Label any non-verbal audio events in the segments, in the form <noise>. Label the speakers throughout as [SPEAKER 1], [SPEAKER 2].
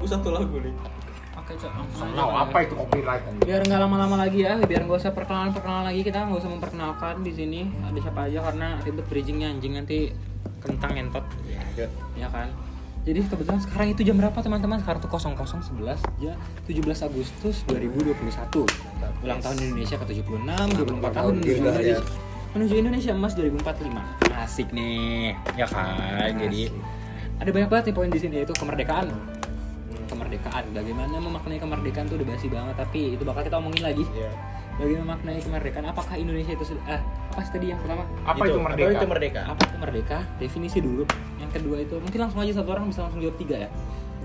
[SPEAKER 1] Gue satu lagu nih.
[SPEAKER 2] Oke, Cok, langsung aja.
[SPEAKER 3] Tahu apa itu copyright anjing?
[SPEAKER 2] Biar nggak lama-lama lagi ya, biar nggak usah perkenalan-perkenalan lagi kita nggak usah memperkenalkan di sini ada siapa aja karena ribet bridgingnya anjing nanti kentang entot ya kan jadi kebetulan sekarang itu jam berapa teman-teman sekarang tuh 0011 ya 17 Agustus 2021 ulang tahun Indonesia ke 76
[SPEAKER 1] Nah,
[SPEAKER 2] 24 tahun
[SPEAKER 3] tahun
[SPEAKER 2] menuju
[SPEAKER 1] Iya,
[SPEAKER 3] kita, ya.
[SPEAKER 2] Indonesia, menuju Indonesia emas 2045 asik nih ya kan jadi ada banyak banget nih poin di sini yaitu kemerdekaan kemerdekaan bagaimana memaknai kemerdekaan tuh udah basi banget tapi itu bakal kita omongin lagi
[SPEAKER 1] Iya.
[SPEAKER 2] bagaimana memaknai kemerdekaan apakah Indonesia itu sed- ah apa sih tadi yang pertama
[SPEAKER 3] Apa itu merdeka?
[SPEAKER 1] Apa itu merdeka?
[SPEAKER 2] apa itu merdeka definisi dulu yang kedua itu mungkin langsung aja satu orang bisa langsung jawab tiga ya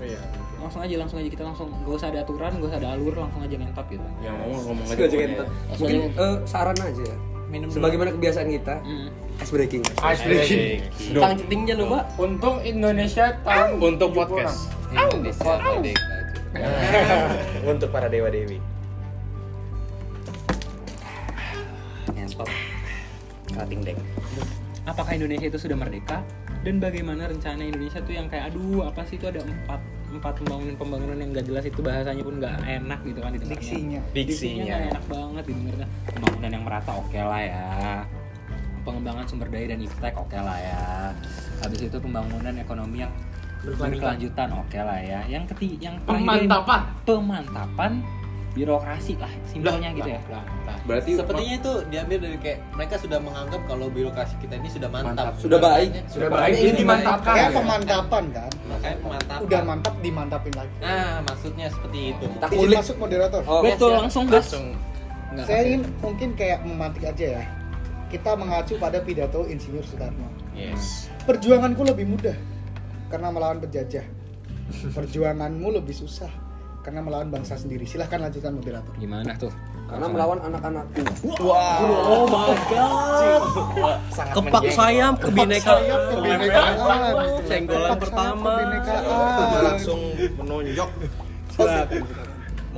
[SPEAKER 1] Iya.
[SPEAKER 2] langsung aja langsung aja kita langsung gak usah ada aturan gak usah ada alur langsung aja ngentot gitu
[SPEAKER 1] Yang Ya, ngomong ngomong aja.
[SPEAKER 4] Sebagai
[SPEAKER 1] pokoknya.
[SPEAKER 4] mungkin eh, saran aja ya.
[SPEAKER 2] minum dulu.
[SPEAKER 4] Sebagaimana kebiasaan kita,
[SPEAKER 2] Mm.
[SPEAKER 4] ice breaking.
[SPEAKER 3] Ice breaking.
[SPEAKER 4] Tang cetingnya lu, Pak.
[SPEAKER 3] Untung Indonesia tahun
[SPEAKER 5] Untuk
[SPEAKER 3] 70-an.
[SPEAKER 5] podcast.
[SPEAKER 1] Untuk para dewa dewi.
[SPEAKER 4] Ngentot. Kating deng.
[SPEAKER 2] apakah Indonesia itu sudah merdeka dan bagaimana rencana Indonesia tuh yang kayak aduh apa sih itu ada empat empat pembangunan pembangunan yang gak jelas itu bahasanya pun gak enak gitu kan didengarnya
[SPEAKER 3] Diksinya.
[SPEAKER 2] diksinya
[SPEAKER 1] Diksinya.
[SPEAKER 2] nggak iya. enak banget gitu, didengarnya pembangunan yang merata oke lah ya pengembangan sumber daya dan iptek oke lah ya habis itu pembangunan ekonomi yang berkelanjutan oke lah ya yang ketiga yang terakhir ini,
[SPEAKER 3] Pemantapan.
[SPEAKER 2] pemantapan birokrasi lah simpelnya gitu ya
[SPEAKER 5] Berarti
[SPEAKER 6] Sepertinya itu diambil dari kayak mereka sudah menganggap kalau birokrasi kita ini sudah mantap.
[SPEAKER 4] Sudah baik.
[SPEAKER 3] Sudah baik ini dimantapkan.
[SPEAKER 1] ya?
[SPEAKER 7] Kayak pemantapan kan?
[SPEAKER 6] Makanya mantap.
[SPEAKER 7] Udah mantap dimantapin lagi.
[SPEAKER 6] Nah, maksudnya seperti itu.
[SPEAKER 4] Kita
[SPEAKER 7] Izin
[SPEAKER 4] kulik.
[SPEAKER 7] masuk moderator.
[SPEAKER 4] Oh,
[SPEAKER 2] betul langsung gas Nggak
[SPEAKER 7] Saya
[SPEAKER 2] pakai.
[SPEAKER 7] ingin mungkin kayak memantik aja ya. Kita mengacu pada pidato Insinyur Soekarno.
[SPEAKER 1] Yes.
[SPEAKER 7] Perjuanganku lebih mudah karena melawan penjajah. Perjuanganmu lebih susah karena melawan bangsa sendiri. Silahkan lanjutkan moderator.
[SPEAKER 2] gimana tuh
[SPEAKER 4] Karena melawan anak-anakku.
[SPEAKER 2] oh my god
[SPEAKER 5] kepak sayap kebinekaan.
[SPEAKER 7] Kebinekaan.
[SPEAKER 5] Senggolan
[SPEAKER 7] Kepak sayap
[SPEAKER 5] pertama.
[SPEAKER 7] Kebinekaan.
[SPEAKER 1] Langsung menonjok.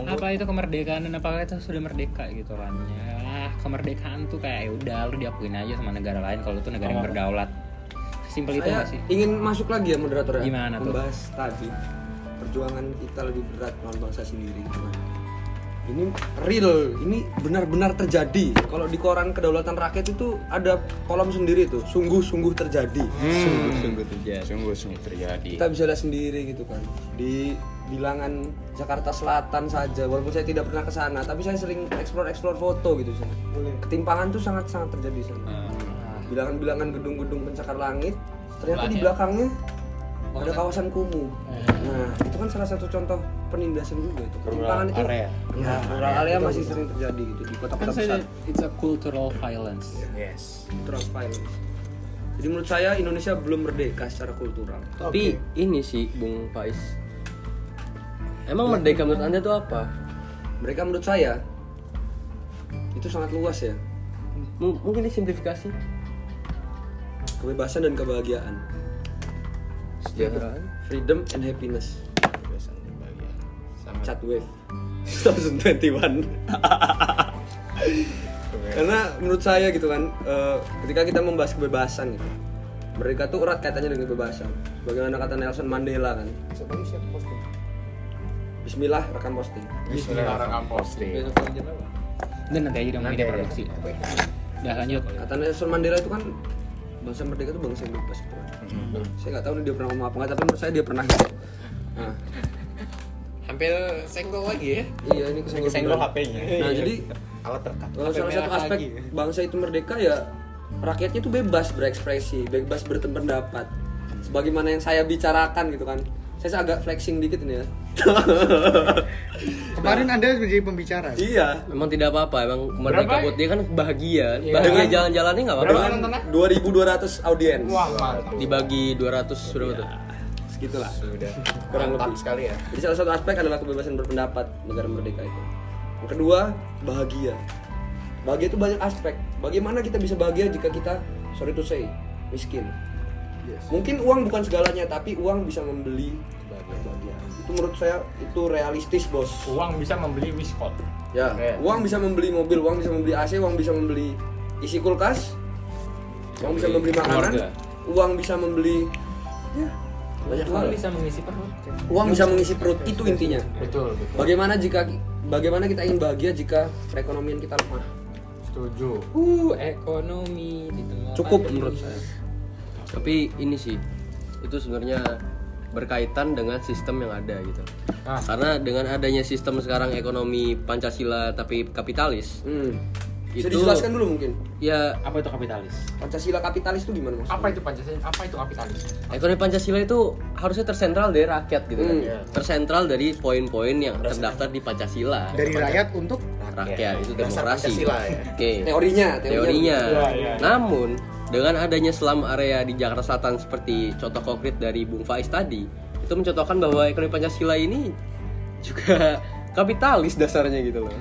[SPEAKER 2] apa itu kemerdekaan dan apakah itu sudah merdeka gitu kan ya kemerdekaan tuh kayak ya udah lu diakuin aja sama negara lain kalau itu
[SPEAKER 5] Oh.
[SPEAKER 2] negara yang berdaulat simpel itu
[SPEAKER 4] Saya
[SPEAKER 2] nggak sih
[SPEAKER 4] ingin masuk lagi ya moderator ya.
[SPEAKER 2] Gimana tuh?
[SPEAKER 4] Membahas tadi perjuangan kita lebih berat melawan bangsa sendiri. Cuman, Ini real, ini benar-benar terjadi. Kalau di koran kedaulatan rakyat itu ada kolom sendiri tuh, sungguh-sungguh terjadi.
[SPEAKER 5] Sungguh terjadi.
[SPEAKER 1] Sungguh sungguh terjadi.
[SPEAKER 4] Kita bisa lihat sendiri gitu kan. Di bilangan Jakarta Selatan saja, walaupun saya tidak pernah ke sana, tapi saya sering explore-explore foto gitu sana. Ketimpangan tuh sangat-sangat terjadi di sana. bilangan-bilangan gedung-gedung pencakar langit ternyata di belakangnya ada kawasan kumuh nah itu kan salah satu contoh penindasan juga itu ketimpangan itu
[SPEAKER 1] area.
[SPEAKER 4] ya rural area masih sering terjadi gitu di kota-kota
[SPEAKER 2] kan
[SPEAKER 4] besar
[SPEAKER 2] saya it's a cultural violence
[SPEAKER 1] Yes.
[SPEAKER 4] cultural violence jadi menurut saya Indonesia belum merdeka secara kultural
[SPEAKER 5] Tapi ini sih Bung Faiz. Emang merdeka menurut Anda tuh apa?
[SPEAKER 4] mereka menurut saya itu sangat luas ya
[SPEAKER 5] M- mungkin disimplifikasi.
[SPEAKER 4] kebebasan dan kebahagiaan
[SPEAKER 5] Sejahteraan.
[SPEAKER 4] freedom and happiness
[SPEAKER 1] Kebiasaan berbahagia. Sangat
[SPEAKER 4] <laughs> Chatwave 2021 karena menurut saya gitu kan eh, ketika kita membahas kebebasan gitu mereka tuh erat kaitannya dengan kebebasan bagaimana kata Nelson Mandela kan
[SPEAKER 7] Siapa ini siapa posting?
[SPEAKER 4] Bismillah rekam posting
[SPEAKER 1] Iya.
[SPEAKER 3] Dilarang posting.
[SPEAKER 2] dan nanti aja dong ini produksi udah lanjut
[SPEAKER 4] kata Nelson Mandela itu kan bangsa merdeka itu bangsa yang bebas gitu kan saya nggak tahu nih dia pernah ngomong apa nggak tapi menurut saya dia pernah gitu nah,
[SPEAKER 5] Hampir senggol lagi ya.
[SPEAKER 4] iya ini kesenggol
[SPEAKER 1] Senggol
[SPEAKER 4] beneran.
[SPEAKER 1] HP-nya.
[SPEAKER 4] nah jadi
[SPEAKER 1] Alat terkat.
[SPEAKER 4] Kalau salah satu aspek bangsa itu merdeka ya rakyatnya itu bebas berekspresi, bebas berpendapat. Sebagaimana yang saya bicarakan gitu kan. Saya agak flexing dikit ini ya. <laughs>
[SPEAKER 7] Kemarin Anda menjadi pembicara. ya?
[SPEAKER 4] iya.
[SPEAKER 5] Emang tidak apa-apa, emang merdeka
[SPEAKER 3] Berapa?
[SPEAKER 5] buat dia kan bahagia. Bahagia jalan-jalannya nggak apa-apa.
[SPEAKER 4] Dengan 2200 audiens. Iya.
[SPEAKER 3] Wah, mantap.
[SPEAKER 5] Dibagi 200 sudah betul.
[SPEAKER 4] Segitulah.
[SPEAKER 1] Sudah.
[SPEAKER 4] Kurang
[SPEAKER 1] Mantap
[SPEAKER 4] lebih.
[SPEAKER 1] sekali ya.
[SPEAKER 4] Jadi salah satu aspek adalah kebebasan berpendapat negara merdeka itu. Yang kedua, bahagia. Bahagia itu banyak aspek. Bagaimana kita bisa bahagia jika kita sorry to say miskin? Mungkin uang bukan segalanya, tapi uang bisa membeli kebahagiaan. Itu menurut saya itu realistis, Bos.
[SPEAKER 3] Uang bisa membeli wiskot.
[SPEAKER 4] Ya,
[SPEAKER 3] Oke.
[SPEAKER 4] uang bisa membeli mobil, uang bisa membeli AC, uang bisa membeli isi kulkas. Uang bisa membeli makanan,
[SPEAKER 5] keluarga.
[SPEAKER 4] uang bisa membeli ya, Banyak
[SPEAKER 8] uang
[SPEAKER 4] hal.
[SPEAKER 8] bisa mengisi perut ya.
[SPEAKER 4] Uang bisa mengisi perut itu intinya.
[SPEAKER 1] Betul, betul.
[SPEAKER 4] Bagaimana jika bagaimana kita ingin bahagia jika perekonomian kita lemah?
[SPEAKER 1] Setuju.
[SPEAKER 8] uh ekonomi di tengah
[SPEAKER 4] Cukup
[SPEAKER 8] pandemi.
[SPEAKER 4] menurut saya.
[SPEAKER 9] tapi ini sih itu sebenarnya berkaitan dengan sistem yang ada gitu
[SPEAKER 1] Ah.
[SPEAKER 9] karena dengan adanya sistem sekarang ekonomi pancasila tapi kapitalis
[SPEAKER 4] Hmm. Bisa
[SPEAKER 9] Itu-
[SPEAKER 4] dijelaskan dulu mungkin.
[SPEAKER 9] ya
[SPEAKER 8] apa itu kapitalis
[SPEAKER 4] Pancasila kapitalis itu gimana maksudnya?
[SPEAKER 1] Apa itu Pancasila? Apa itu kapitalis?
[SPEAKER 9] ekonomi pancasila itu harusnya tersentral dari rakyat gitu kan
[SPEAKER 4] Hmm.
[SPEAKER 9] ya. tersentral dari poin-poin yang terdaftar di pancasila
[SPEAKER 7] Dari rakyat untuk
[SPEAKER 9] rakyat itu
[SPEAKER 10] Dasar
[SPEAKER 9] demokrasi
[SPEAKER 10] Pancasila ya.
[SPEAKER 9] oke
[SPEAKER 4] Teorinya,
[SPEAKER 9] teorinya.
[SPEAKER 1] Iya, iya.
[SPEAKER 9] Namun dengan adanya selam area di Jakarta Selatan seperti contoh konkret dari Bung Faiz tadi, itu mencontohkan bahwa ekonomi Pancasila ini juga <laughs> kapitalis dasarnya gitu loh.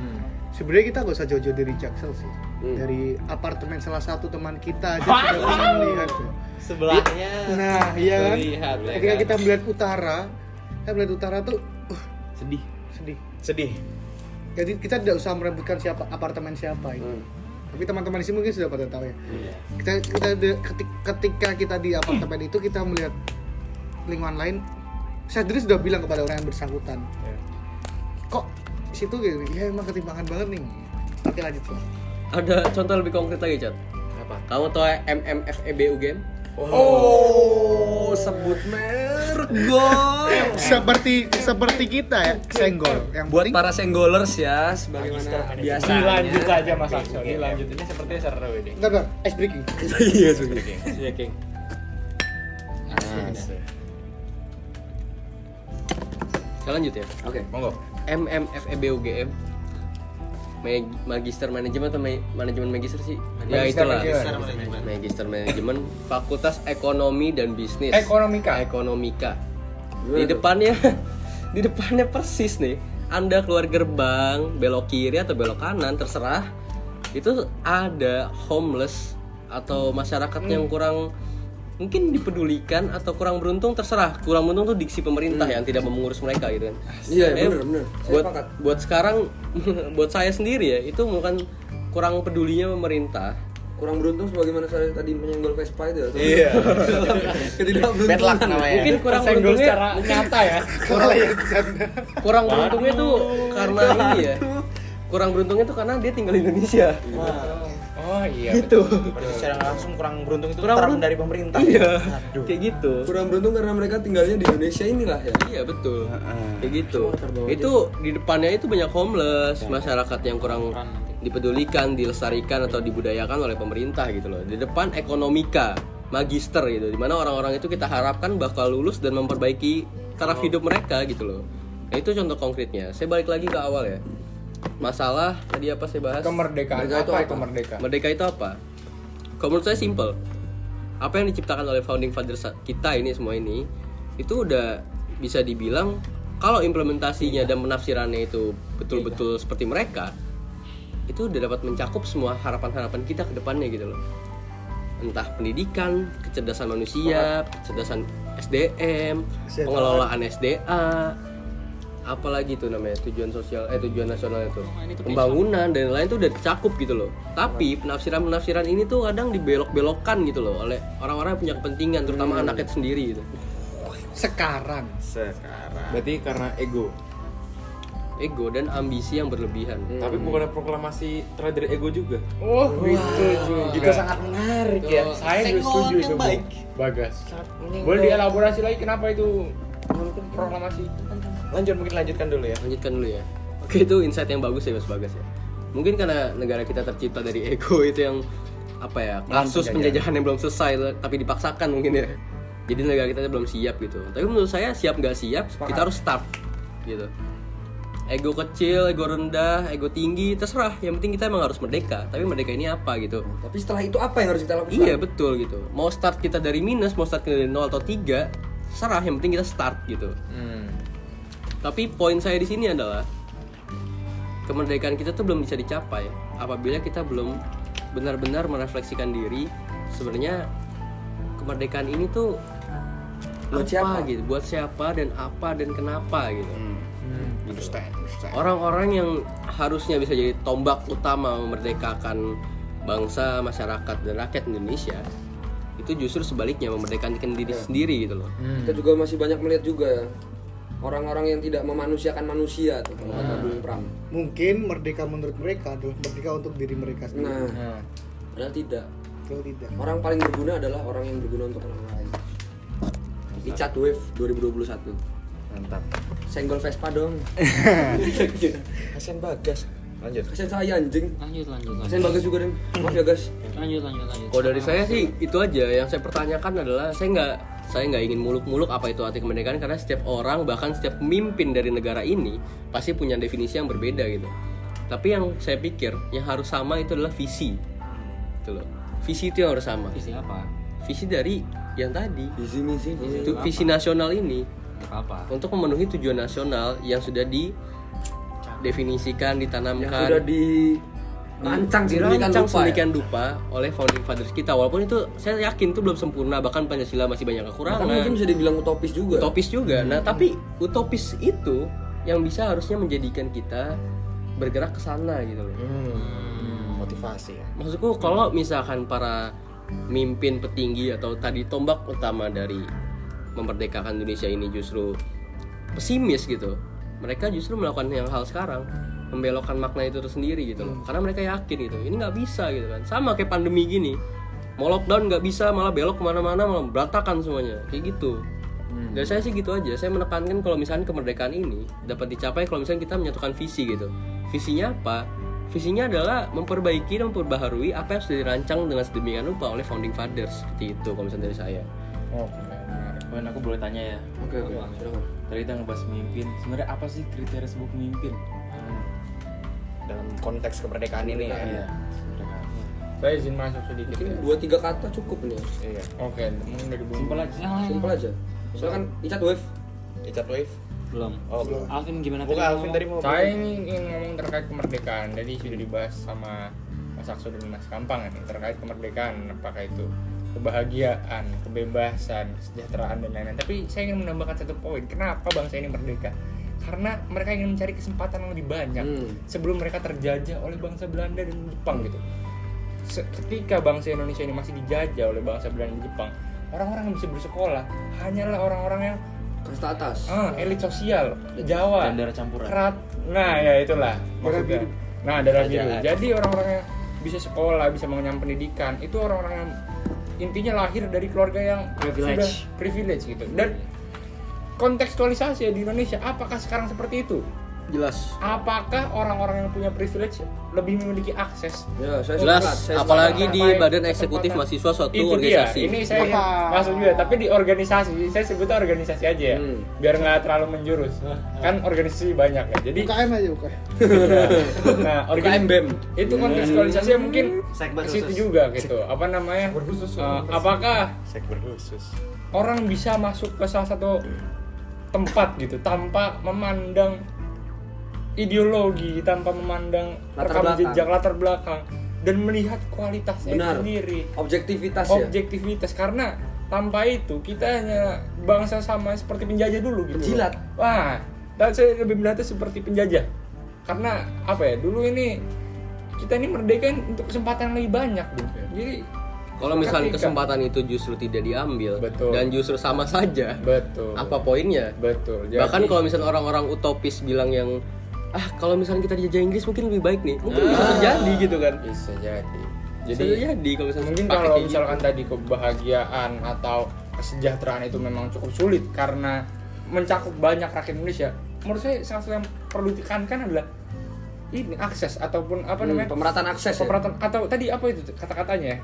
[SPEAKER 7] sebenarnya kita gak usah jauh-jauh dari Jaksel sih.
[SPEAKER 4] Hmm.
[SPEAKER 7] Dari apartemen salah satu teman kita aja sudah bisa melihat. tuh.
[SPEAKER 10] Sebelahnya.
[SPEAKER 7] Nah, iya kan?
[SPEAKER 10] Terlihat, ya
[SPEAKER 7] Ketika
[SPEAKER 10] kan?
[SPEAKER 7] kita melihat utara, kita melihat utara tuh uh,
[SPEAKER 10] Sedih.
[SPEAKER 7] sedih.
[SPEAKER 10] Sedih.
[SPEAKER 7] Jadi kita tidak usah merebutkan siapa apartemen siapa itu.
[SPEAKER 4] Hmm.
[SPEAKER 7] Tapi teman-teman di sini mungkin sudah pada tahu ya.
[SPEAKER 10] Iya.
[SPEAKER 7] Kita kita de- keti- ketika kita di apartemen itu kita melihat lingkungan lain. Saya sendiri sudah bilang kepada orang yang bersangkutan. Kok di situ gitu? Ya emang ketimpangan banget nih. Oke lanjut Cel.
[SPEAKER 9] Ada contoh lebih konkret lagi, Chat.
[SPEAKER 10] Apa?
[SPEAKER 9] Kamu tahu MMFEBU game?
[SPEAKER 4] Oh, sebut merek <laughs> gol.
[SPEAKER 7] Seperti seperti kita ya, senggol. Yang
[SPEAKER 4] Buat
[SPEAKER 7] penting-
[SPEAKER 4] para senggolers ya, sebagaimana biasanya.
[SPEAKER 1] Dilanjut aja Mas Akso. Dilanjut. Ini sepertinya seru ini.
[SPEAKER 7] Bentar, bentar. Ice breaking.
[SPEAKER 4] Iya, sudah.
[SPEAKER 9] Saya lanjut ya.
[SPEAKER 4] Oke.
[SPEAKER 10] Monggo.
[SPEAKER 9] MMFEBU game Mag- Magister manajemen atau ma- manajemen magister sih? ya
[SPEAKER 1] Magister
[SPEAKER 9] itulah.
[SPEAKER 1] manajemen.
[SPEAKER 9] Magister manajemen Fakultas Ekonomi dan Bisnis.
[SPEAKER 1] Ekonomika.
[SPEAKER 9] Ekonomika.
[SPEAKER 4] Gimana
[SPEAKER 9] Di
[SPEAKER 4] tuh?
[SPEAKER 9] depannya <laughs> di depannya persis nih. Anda keluar gerbang, belok kiri atau belok kanan terserah. Itu ada homeless atau masyarakat yang kurang mungkin dipedulikan atau kurang beruntung terserah. Kurang beruntung tuh diksi pemerintah yang tidak mau mengurus mereka gitu kan.
[SPEAKER 4] Iya,
[SPEAKER 9] Eh,
[SPEAKER 4] benar, benar. Saya
[SPEAKER 9] Buat
[SPEAKER 4] sepakat.
[SPEAKER 9] buat sekarang <laughs> buat saya sendiri ya, itu bukan kurang pedulinya pemerintah.
[SPEAKER 4] Kurang beruntung sebagaimana saya tadi menyenggol Vespa itu. ya. <laughs>
[SPEAKER 10] Iya. Bad luck
[SPEAKER 4] Ketidakberuntungan.
[SPEAKER 10] namanya.
[SPEAKER 9] Mungkin kurang
[SPEAKER 1] Tersenggol
[SPEAKER 9] beruntungnya
[SPEAKER 1] secara nyata ya.
[SPEAKER 7] Kalau ya bercanda.
[SPEAKER 9] kurang beruntungnya tuh karena ini ya kurang beruntungnya tuh karena dia tinggal di Indonesia
[SPEAKER 1] Oh iya.
[SPEAKER 9] gitu
[SPEAKER 10] Berarti secara langsung kurang beruntung itu
[SPEAKER 9] Kurang
[SPEAKER 10] term
[SPEAKER 9] beruntung.
[SPEAKER 10] dari pemerintah.
[SPEAKER 9] iya kayak gitu
[SPEAKER 4] Kurang beruntung karena mereka tinggalnya di Indonesia inilah ya.
[SPEAKER 9] iya betul kayak gitu itu di depannya itu banyak homeless masyarakat yang kurang dipedulikan dilestarikan atau dibudayakan oleh pemerintah gitu loh di depan ekonomika magister gitu dimana orang-orang itu kita harapkan bakal lulus dan memperbaiki
[SPEAKER 1] Oh.
[SPEAKER 9] taraf hidup mereka gitu loh nah, itu contoh konkretnya saya balik lagi ke awal ya masalah tadi apa saya bahas
[SPEAKER 1] Kemerdekaan.
[SPEAKER 4] Merdeka itu
[SPEAKER 1] Apa
[SPEAKER 4] apa?
[SPEAKER 1] itu merdeka?
[SPEAKER 9] Merdeka itu apa? Kalau menurut saya simple. Apa yang diciptakan oleh founding fathers kita ini semua ini itu udah bisa dibilang kalau implementasinya dan penafsirannya itu betul-betul seperti mereka itu udah dapat mencakup semua harapan-harapan kita ke depannya gitu loh. Entah pendidikan, kecerdasan manusia, kecerdasan SDM,
[SPEAKER 7] Kesehatan.
[SPEAKER 9] pengelolaan SDA, apalagi itu namanya tujuan sosial eh tujuan nasional itu
[SPEAKER 8] Nah, ini tuh
[SPEAKER 9] pembangunan dan lain itu udah dicakup gitu loh tapi penafsiran penafsiran ini tuh kadang dibelok-belokan gitu loh oleh orang-orang yang punya kepentingan terutama anaknya itu sendiri gitu
[SPEAKER 7] Sekarang.
[SPEAKER 10] Sekarang.
[SPEAKER 11] Berarti karena ego.
[SPEAKER 9] ego dan ambisi yang berlebihan
[SPEAKER 1] Hmm.
[SPEAKER 11] Tapi bukan proklamasi terhadap dari ego juga.
[SPEAKER 1] Oh, itu juga.
[SPEAKER 7] Itu sangat menarik
[SPEAKER 1] Ya, saya juga
[SPEAKER 12] Sengon
[SPEAKER 1] setuju
[SPEAKER 12] yang
[SPEAKER 1] itu, Bu.
[SPEAKER 12] baik.
[SPEAKER 1] Bagas. Boleh dielaborasi lagi kenapa itu proklamasi?
[SPEAKER 10] Lanjut mungkin lanjutkan dulu ya.
[SPEAKER 9] lanjutkan dulu ya oke itu insight yang bagus ya mas bagas ya mungkin karena negara kita tercipta dari ego <laughs> itu yang apa ya kasus penjajahan yang belum selesai tapi dipaksakan mungkin ya jadi negara kita belum siap gitu tapi menurut saya siap nggak siap kita harus start gitu ego kecil ego rendah ego tinggi terserah yang penting kita emang harus merdeka tapi merdeka ini apa gitu
[SPEAKER 4] Tapi setelah itu apa yang harus kita lakukan?
[SPEAKER 9] Iya betul gitu. Mau start kita dari minus, mau start kita dari nol atau tiga, serah yang penting kita start gitu. Tapi poin saya di sini adalah kemerdekaan kita tuh belum bisa dicapai apabila kita belum benar-benar merefleksikan diri sebenarnya kemerdekaan ini tuh
[SPEAKER 4] Buat
[SPEAKER 9] apa
[SPEAKER 4] siapa?
[SPEAKER 9] gitu, buat siapa dan apa dan kenapa gitu.
[SPEAKER 10] Understand, understand.
[SPEAKER 9] Orang-orang yang harusnya bisa jadi tombak utama memerdekakan bangsa, masyarakat, dan rakyat Indonesia itu justru sebaliknya memerdekakan diri sendiri gitu loh
[SPEAKER 10] Hmm.
[SPEAKER 4] Kita juga masih banyak melihat juga ya, orang-orang yang tidak memanusiakan manusia tuh kalau
[SPEAKER 10] Hmm.
[SPEAKER 4] kata Bung Pram.
[SPEAKER 7] Mungkin merdeka menurut mereka adalah merdeka untuk diri mereka sendiri.
[SPEAKER 4] Nah,
[SPEAKER 10] Hmm.
[SPEAKER 4] padahal tidak.
[SPEAKER 7] Kalau tidak.
[SPEAKER 4] Orang paling berguna adalah orang yang berguna untuk orang lain. Di Wave 2021.
[SPEAKER 1] Mantap.
[SPEAKER 4] Senggol Vespa dong.
[SPEAKER 10] Kasian bagas. Lanjut.
[SPEAKER 4] Kasian saya anjing.
[SPEAKER 8] lanjut lanjut lanjut
[SPEAKER 4] Kasian bagus juga deh. Maaf ya guys.
[SPEAKER 8] lanjut lanjut lanjut
[SPEAKER 9] Kalau dari saya sih itu aja yang saya pertanyakan adalah saya nggak saya nggak ingin muluk-muluk apa itu arti kemerdekaan karena setiap orang bahkan setiap pemimpin dari negara ini pasti punya definisi yang berbeda gitu. Tapi yang saya pikir yang harus sama itu adalah visi. Gitu loh. Visi itu yang harus sama.
[SPEAKER 8] visi apa
[SPEAKER 9] Visi dari yang tadi.
[SPEAKER 4] Visi misi. visi.
[SPEAKER 9] Itu visi nasional ini
[SPEAKER 8] Nggak apa
[SPEAKER 9] untuk memenuhi tujuan nasional yang sudah di definisikan
[SPEAKER 4] Yang
[SPEAKER 9] ditanamkan
[SPEAKER 4] sudah di rancang sedemikian
[SPEAKER 9] dirancang
[SPEAKER 4] rupa ya.
[SPEAKER 9] sedemikian dupa oleh founding fathers kita walaupun itu saya yakin itu belum sempurna bahkan pancasila masih banyak
[SPEAKER 4] Bahkan
[SPEAKER 9] kekurangan
[SPEAKER 4] mungkin bisa dibilang utopis juga.
[SPEAKER 9] utopis juga nah tapi utopis itu yang bisa harusnya menjadikan kita bergerak ke sana gitu loh
[SPEAKER 10] Motivasi ya.
[SPEAKER 9] maksudku kalau misalkan para mimpin petinggi atau tadi tombak utama dari memerdekakan Indonesia ini justru pesimis gitu mereka justru melakukan yang hal sekarang membelokkan makna itu tersendiri gitu loh karena mereka yakin gitu ini nggak bisa gitu kan sama kayak pandemi gini mau lockdown nggak bisa malah belok kemana-mana malah berantakan semuanya kayak gitu
[SPEAKER 1] Hmm.
[SPEAKER 9] dari saya sih gitu aja saya menekankan kalau misalkan kemerdekaan ini dapat dicapai kalau misalkan kita menyatukan visi gitu visinya apa Visinya adalah memperbaiki dan memperbaharui apa yang sudah dirancang dengan sedemikian rupa oleh founding fathers seperti itu kalau misalnya dari saya.
[SPEAKER 11] Wan, aku boleh tanya ya.
[SPEAKER 4] Oke, oke. Silakan.
[SPEAKER 11] Tadi kita ngebahas pemimpin. Sebenarnya apa sih kriteria sebuah pemimpin?
[SPEAKER 10] Dalam konteks kemerdekaan ini ya.
[SPEAKER 11] Iya. sebenarnya.
[SPEAKER 1] Saya izin masuk sedikit.
[SPEAKER 4] Mungkin
[SPEAKER 1] ya.
[SPEAKER 4] dua tiga kata cukup nih.
[SPEAKER 10] Iya.
[SPEAKER 1] Oke, mungkin dari Bung.
[SPEAKER 11] Simpel aja.
[SPEAKER 8] yang lain
[SPEAKER 4] Simpel aja. Silakan Icat Wave.
[SPEAKER 10] Icat wave.
[SPEAKER 8] belum
[SPEAKER 10] Oh, belum.
[SPEAKER 8] Alvin gimana
[SPEAKER 10] Bukan Alvin tadi mau.
[SPEAKER 1] Saya ini ingin ngomong terkait kemerdekaan. Jadi sudah dibahas sama Mas Aksu dan Mas Kampang kan terkait kemerdekaan apakah itu kebahagiaan, kebebasan, kesejahteraan dan lain-lain. Tapi saya ingin menambahkan satu poin. Kenapa bangsa ini merdeka? Karena mereka ingin mencari kesempatan yang lebih banyak
[SPEAKER 4] Hmm.
[SPEAKER 1] sebelum mereka terjajah oleh bangsa Belanda dan Jepang gitu. Se- Ketika bangsa Indonesia ini masih dijajah oleh bangsa Belanda dan Jepang, orang-orang yang bisa bersekolah hanyalah orang-orang yang
[SPEAKER 4] Kasta atas.
[SPEAKER 1] Ah, elit sosial Jawa.
[SPEAKER 11] Dan darah campuran.
[SPEAKER 1] Kerat. Nah, ya itulah maksudnya. Nah, darah biru. Jadi orang-orang yang bisa sekolah, bisa mengenyam pendidikan, itu orang-orang yang intinya lahir dari keluarga yang
[SPEAKER 8] Privilege.
[SPEAKER 1] sudah privilege gitu. Dan kontekstualisasi ya di Indonesia apakah sekarang seperti itu?
[SPEAKER 9] Jelas.
[SPEAKER 1] Apakah orang-orang yang punya privilege lebih memiliki akses?
[SPEAKER 4] Ya, saya
[SPEAKER 9] Jelas,
[SPEAKER 4] sepakat, saya
[SPEAKER 9] apalagi
[SPEAKER 1] sepakat.
[SPEAKER 9] di
[SPEAKER 1] Sampai
[SPEAKER 9] badan eksekutif
[SPEAKER 1] kesempatan.
[SPEAKER 9] mahasiswa suatu
[SPEAKER 1] itu dia.
[SPEAKER 9] organisasi.
[SPEAKER 1] Ini saya ingin masuk juga, tapi di organisasi, saya sebutnya organisasi aja ya,
[SPEAKER 4] Hmm.
[SPEAKER 1] biar nggak terlalu menjurus. Kan organisasi banyak ya. Jadi
[SPEAKER 7] UKM aja UKM.
[SPEAKER 1] nah organ BEM itu kontekstualisasinya mungkin ke situ juga gitu apa namanya Eh, apakah
[SPEAKER 10] Sek berkhusus.
[SPEAKER 1] orang bisa masuk ke salah satu tempat gitu tanpa memandang ideologi tanpa memandang
[SPEAKER 4] Latar
[SPEAKER 1] rekam
[SPEAKER 4] belakang.
[SPEAKER 1] jejak latar belakang dan melihat kualitasnya
[SPEAKER 4] Benar.
[SPEAKER 1] sendiri
[SPEAKER 4] Objektivitas ya.
[SPEAKER 1] objektivitas karena tanpa itu kita hanya bangsa sama seperti penjajah dulu gitu. loh.
[SPEAKER 4] Penjilat.
[SPEAKER 1] Wah, dan saya lebih melihatnya seperti penjajah. Karena apa ya? Dulu ini kita ini merdeka untuk kesempatan yang lebih banyak gitu. Jadi
[SPEAKER 9] Kalau misalkan
[SPEAKER 1] ketika-
[SPEAKER 9] kesempatan itu justru tidak diambil
[SPEAKER 1] Betul.
[SPEAKER 9] dan justru sama saja,
[SPEAKER 1] betul.
[SPEAKER 9] apa poinnya?
[SPEAKER 1] Betul.
[SPEAKER 9] Bahkan kalau misalkan orang-orang utopis bilang yang ah kalau misalkan kita dijajah Inggris mungkin lebih baik nih, mungkin bisa terjadi gitu kan?
[SPEAKER 1] Ah, bisa jadi.
[SPEAKER 9] Jadi
[SPEAKER 1] Jadi
[SPEAKER 9] jadi kalau misalkan
[SPEAKER 1] Nah, mungkin
[SPEAKER 9] pakai
[SPEAKER 1] kalau
[SPEAKER 9] kayak gitu.
[SPEAKER 1] misalkan tadi kebahagiaan atau kesejahteraan itu memang cukup sulit karena mencakup banyak rakyat Indonesia menurut saya salah satu yang perlu ditekankan adalah ini akses ataupun apa
[SPEAKER 4] Hmm,
[SPEAKER 1] namanya
[SPEAKER 4] pemerataan akses ya?
[SPEAKER 1] pemerataan atau tadi apa itu kata-katanya ya?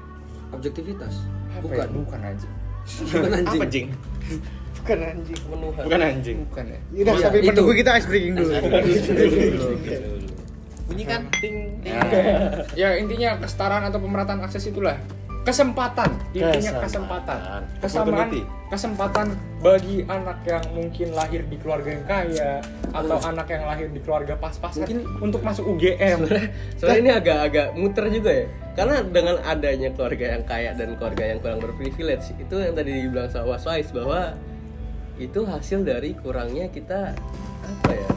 [SPEAKER 4] Objektivitas.
[SPEAKER 1] Apa
[SPEAKER 4] Bukan.
[SPEAKER 1] ya? bukan anjing
[SPEAKER 4] Bukan anjing.
[SPEAKER 10] Apa jing?
[SPEAKER 7] Bukan anjing.
[SPEAKER 10] Bukan anjing.
[SPEAKER 1] bukan ya
[SPEAKER 7] Yaudah
[SPEAKER 9] Iya,
[SPEAKER 7] sampai
[SPEAKER 9] itu.
[SPEAKER 7] menunggu kita ice breaking dulu.
[SPEAKER 12] Bunyikan ting ting.
[SPEAKER 1] ya intinya kesetaraan atau pemerataan akses itulah kesempatan intinya kesempatan kesamaan
[SPEAKER 10] Opportunity.
[SPEAKER 1] kesempatan bagi anak yang mungkin lahir di keluarga yang kaya atau anak yang lahir di keluarga pas-pasan
[SPEAKER 9] Mungkin-
[SPEAKER 1] untuk masuk UGM
[SPEAKER 9] Soalnya ini agak-agak muter juga ya. Karena dengan adanya keluarga yang kaya dan keluarga yang kurang berprivilege, itu yang tadi dibilang sama Mas Wais bahwa itu hasil dari kurangnya kita apa ya?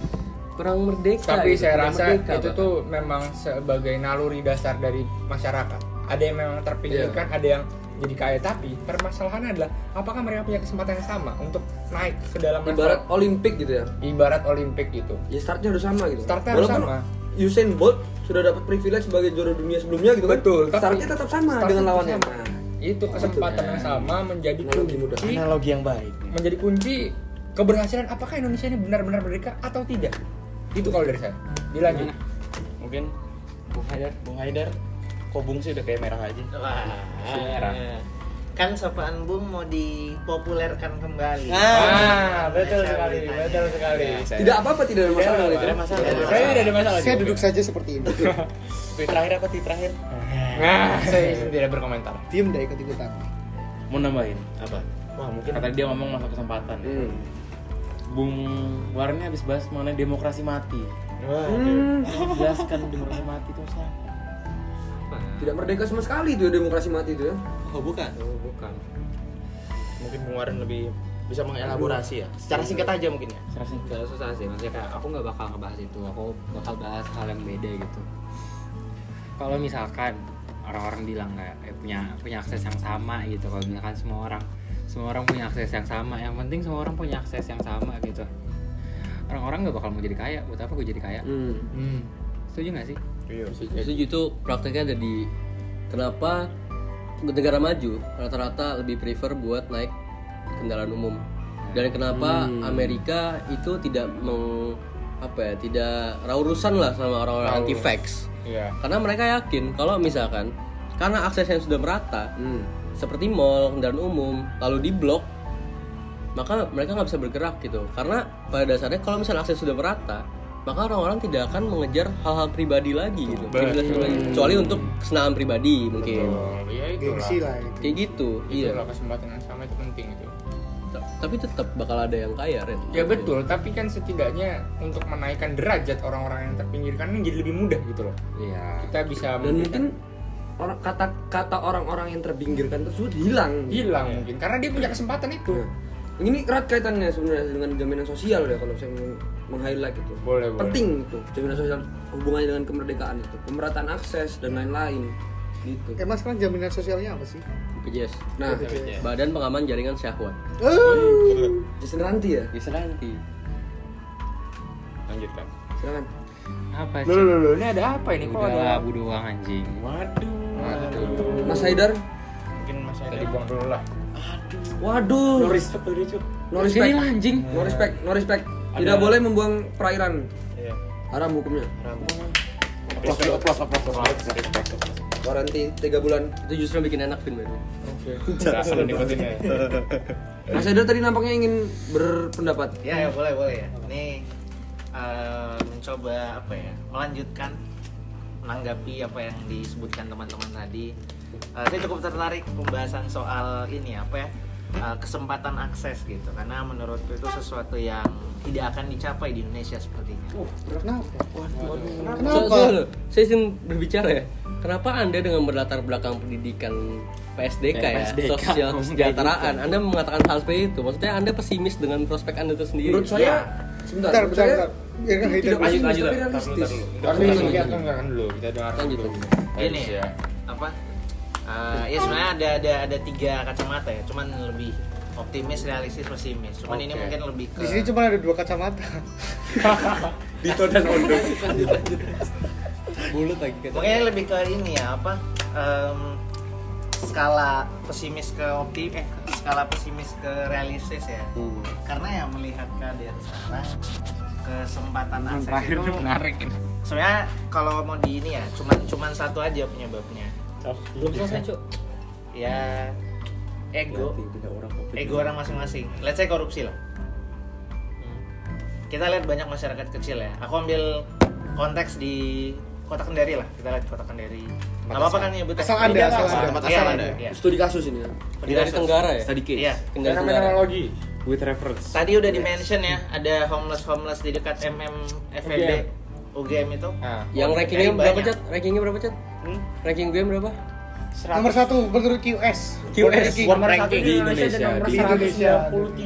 [SPEAKER 9] <clears throat> kurang merdeka.
[SPEAKER 1] tapi
[SPEAKER 9] gitu,
[SPEAKER 1] saya
[SPEAKER 9] kurang
[SPEAKER 1] rasa
[SPEAKER 9] merdeka,
[SPEAKER 1] itu
[SPEAKER 9] Pak.
[SPEAKER 1] tuh
[SPEAKER 9] Iya.
[SPEAKER 1] memang sebagai naluri dasar dari masyarakat ada yang memang terpikirkan ada yang jadi kaya tapi permasalahannya adalah apakah mereka punya kesempatan yang sama untuk naik ke dalam level-
[SPEAKER 4] Ibarat Olimpik gitu ya.
[SPEAKER 1] ibarat Olimpik gitu
[SPEAKER 4] Ya startnya harus sama gitu.
[SPEAKER 1] Startnya harus
[SPEAKER 4] Walaupun
[SPEAKER 1] sama.
[SPEAKER 4] Usain Bolt sudah dapat privilege sebagai juara dunia sebelumnya gitu kan.
[SPEAKER 1] Betul, tapi-
[SPEAKER 4] startnya tetap sama
[SPEAKER 1] Startnya
[SPEAKER 4] dengan
[SPEAKER 1] tetap
[SPEAKER 4] lawannya. Nah,
[SPEAKER 1] sama. itu kesempatan yang sama menjadi
[SPEAKER 4] Analogi mudah.
[SPEAKER 1] kunci
[SPEAKER 11] Analogi yang baik.
[SPEAKER 1] menjadi kunci keberhasilan apakah Indonesia ini benar-benar merdeka atau tidak itu kalau dari saya dilanjut
[SPEAKER 11] Mungkin Bung Haidar, Bung Haidar, kok Bung sih udah kayak merah aja. Merah.
[SPEAKER 10] eh.
[SPEAKER 3] kan sapaan bung mau dipopulerkan kembali
[SPEAKER 1] ah betul
[SPEAKER 3] Saya
[SPEAKER 1] sekali
[SPEAKER 3] bertanya.
[SPEAKER 1] betul sekali
[SPEAKER 10] Iya.
[SPEAKER 4] Tidak apa-apa tidak ada masalah
[SPEAKER 11] Tidak
[SPEAKER 4] gitu.
[SPEAKER 11] ada masalah.
[SPEAKER 1] saya tidak ada masalah
[SPEAKER 7] Saya
[SPEAKER 1] juga.
[SPEAKER 7] duduk saja seperti ini.
[SPEAKER 11] Tweet terakhir apa tweet terakhir?
[SPEAKER 1] nah saya tidak berkomentar
[SPEAKER 7] Diem deh ikut ikutan.
[SPEAKER 11] Mau nambahin.
[SPEAKER 10] Apa? Wah mungkin
[SPEAKER 11] Kata dia ngomong masa kesempatan.
[SPEAKER 4] Hmm.
[SPEAKER 11] Bung Warni habis bahas mengenai demokrasi mati.
[SPEAKER 10] Wah,
[SPEAKER 8] Hmm.
[SPEAKER 11] Jelaskan demokrasi mati itu apa?
[SPEAKER 4] Tidak merdeka sama sekali itu ya demokrasi mati itu ya.
[SPEAKER 12] Oh bukan.
[SPEAKER 10] aduh, bukan. Mungkin Bung Warren lebih bisa mengelaborasi ya. Secara singkat aja mungkin ya.
[SPEAKER 11] Secara singkat.
[SPEAKER 8] Gak susah sih, maksudnya kayak aku nggak bakal ngebahas itu, aku bakal bahas hal yang beda gitu. Kalau misalkan orang-orang bilang kayak eh, punya punya akses yang sama gitu, kalau misalkan semua orang semua orang punya akses yang sama, yang penting semua orang punya akses yang sama gitu. Orang-orang nggak bakal mau jadi kaya, buat apa gue jadi kaya?
[SPEAKER 4] Hmm.
[SPEAKER 8] Setuju nggak sih?
[SPEAKER 9] Setuju itu prakteknya ada di kenapa negara maju rata-rata lebih prefer buat naik kendaraan umum dan kenapa Amerika itu tidak meng apa ya tidak raurusan lah sama orang-orang anti vax
[SPEAKER 1] iya
[SPEAKER 9] karena mereka yakin kalau misalkan karena aksesnya sudah merata
[SPEAKER 4] Hmm.
[SPEAKER 9] seperti mall kendaraan umum lalu di blok maka mereka nggak bisa bergerak gitu karena pada dasarnya kalau misalnya akses sudah merata maka orang-orang tidak akan mengejar hal-hal pribadi lagi gitu Privilege pribadi. kecuali untuk kesenangan pribadi mungkin
[SPEAKER 1] Betul. ya itu
[SPEAKER 7] Gengsi lah itu.
[SPEAKER 9] kayak gitu iya
[SPEAKER 1] itulah kesempatan yang sama itu penting itu
[SPEAKER 9] T- tapi tetap bakal ada yang kaya Ren
[SPEAKER 1] ya betul tapi kan setidaknya untuk menaikkan derajat orang-orang yang terpinggirkan ini jadi lebih mudah gitu loh
[SPEAKER 8] Iya.
[SPEAKER 1] kita bisa
[SPEAKER 4] Dan mungkin
[SPEAKER 1] memberikan-
[SPEAKER 4] orang kata kata orang-orang yang terpinggirkan tersebut hilang.
[SPEAKER 1] hilang mungkin karena dia punya kesempatan itu Iya,
[SPEAKER 4] Nah, ini erat kaitannya sebenarnya dengan jaminan sosial ya kalau saya mau meng-highlight itu.
[SPEAKER 1] Boleh, boleh.
[SPEAKER 4] Penting itu jaminan sosial hubungannya dengan kemerdekaan itu, pemerataan akses dan lain-lain gitu.
[SPEAKER 7] Emang sekarang jaminan sosialnya apa sih?
[SPEAKER 9] BPJS
[SPEAKER 4] Nah,
[SPEAKER 1] Ya.
[SPEAKER 9] Badan Pengaman Jaringan Syahwat
[SPEAKER 4] Jason Ranti ya,
[SPEAKER 9] bisa nanti
[SPEAKER 10] Lanjutkan.
[SPEAKER 4] silakan.
[SPEAKER 8] Apa sih?
[SPEAKER 1] Loh,
[SPEAKER 8] Ya
[SPEAKER 1] loh, loh, ini ada apa ini? Kok
[SPEAKER 8] Udah
[SPEAKER 1] ada
[SPEAKER 8] labu doang anjing.
[SPEAKER 1] Waduh.
[SPEAKER 4] Mas Haidar,
[SPEAKER 10] Mungkin Mas
[SPEAKER 1] Kita
[SPEAKER 10] Haidar.
[SPEAKER 1] dibuang dulu lah.
[SPEAKER 4] waduh. No respect, no respect,
[SPEAKER 8] Sini lah anjing.
[SPEAKER 4] no respect, no respect. Tidak boleh membuang perairan,
[SPEAKER 10] Iya.
[SPEAKER 4] haram hukumnya.
[SPEAKER 11] Oplos, oplos, oplos.
[SPEAKER 4] Waranti 3 bulan.
[SPEAKER 9] itu justru bikin enak film itu
[SPEAKER 10] Terasa lo nikmatin ya.
[SPEAKER 4] Mas Haidar tadi nampaknya ingin berpendapat.
[SPEAKER 3] ya ya boleh boleh ya ini eh, mencoba apa ya melanjutkan menanggapi apa yang disebutkan teman-teman tadi Eh, saya cukup tertarik pembahasan soal ini apa ya eh, kesempatan akses gitu karena menurutku itu sesuatu yang tidak akan dicapai di Indonesia sepertinya
[SPEAKER 7] Kenapa?
[SPEAKER 9] So-
[SPEAKER 7] Kenapa?
[SPEAKER 9] so- saya izin berbicara ya. Kenapa Anda dengan berlatar belakang pendidikan PSDK ya,
[SPEAKER 8] PSDK,
[SPEAKER 9] sosial
[SPEAKER 8] ngomong
[SPEAKER 9] kesejahteraan, Anda mengatakan hal seperti itu? Maksudnya Anda pesimis dengan prospek Anda itu
[SPEAKER 11] Iya,
[SPEAKER 9] sendiri?
[SPEAKER 4] Menurut saya, sebentar,
[SPEAKER 7] Bentar, bentar,
[SPEAKER 4] saya
[SPEAKER 7] bentar. Ya kan Haidar.
[SPEAKER 4] tidak pesimis,
[SPEAKER 11] lanjut,
[SPEAKER 4] tapi
[SPEAKER 11] bentar dulu,
[SPEAKER 4] realistis.
[SPEAKER 1] Tapi kita dengarkan kan dulu, kita dengarkan
[SPEAKER 9] Lanjut,
[SPEAKER 1] dulu.
[SPEAKER 9] lanjut.
[SPEAKER 3] ini ya apa Eh, ya sebenarnya ada ada ada tiga kacamata ya cuman lebih optimis realistis pesimis cuman ini
[SPEAKER 1] Oke.
[SPEAKER 3] mungkin lebih ke
[SPEAKER 7] Di sini cuma ada dua kacamata.
[SPEAKER 10] Dito dan Ondo.
[SPEAKER 12] Bulut lagi kan.
[SPEAKER 3] Mungkin lebih ke ini ya apa em, skala pesimis ke optim eh skala pesimis ke realistis ya. Karena ya melihat keadaan sekarang kesempatan akses itu menarik Sebenarnya kalau mau di ini ya cuman cuman satu aja penyebabnya.
[SPEAKER 8] Belum selesai, Cuk.
[SPEAKER 3] Ya ego. Ego orang masing-masing. Let's say korupsi lah.
[SPEAKER 7] Hmm.
[SPEAKER 3] Kita lihat banyak masyarakat kecil ya. Aku ambil konteks di Kota Kendari lah. Kita lihat Kota Kendari. Gak apa-apa kan nyebut
[SPEAKER 7] Asal ada, asal ada.
[SPEAKER 3] Iya, iya.
[SPEAKER 4] Studi kasus ini ya.
[SPEAKER 9] Kendari Tenggara ya?
[SPEAKER 11] Tadi
[SPEAKER 3] Iya.
[SPEAKER 9] Kendari Tenggara.
[SPEAKER 1] Fenomenologi.
[SPEAKER 11] with reference.
[SPEAKER 3] Tadi udah di mention ya, ada homeless homeless di dekat MM FNB UGM itu.
[SPEAKER 1] Ah,
[SPEAKER 9] Yang
[SPEAKER 3] Dari
[SPEAKER 9] rankingnya berapa,
[SPEAKER 3] banyak.
[SPEAKER 9] Cat? Rankingnya berapa, Cat?
[SPEAKER 3] Hmm?
[SPEAKER 9] Ranking gue berapa?
[SPEAKER 7] Nomor satu menurut QS.
[SPEAKER 9] QS.
[SPEAKER 11] World
[SPEAKER 1] nomor satu
[SPEAKER 11] ranking
[SPEAKER 1] di Indonesia dan nomor
[SPEAKER 11] di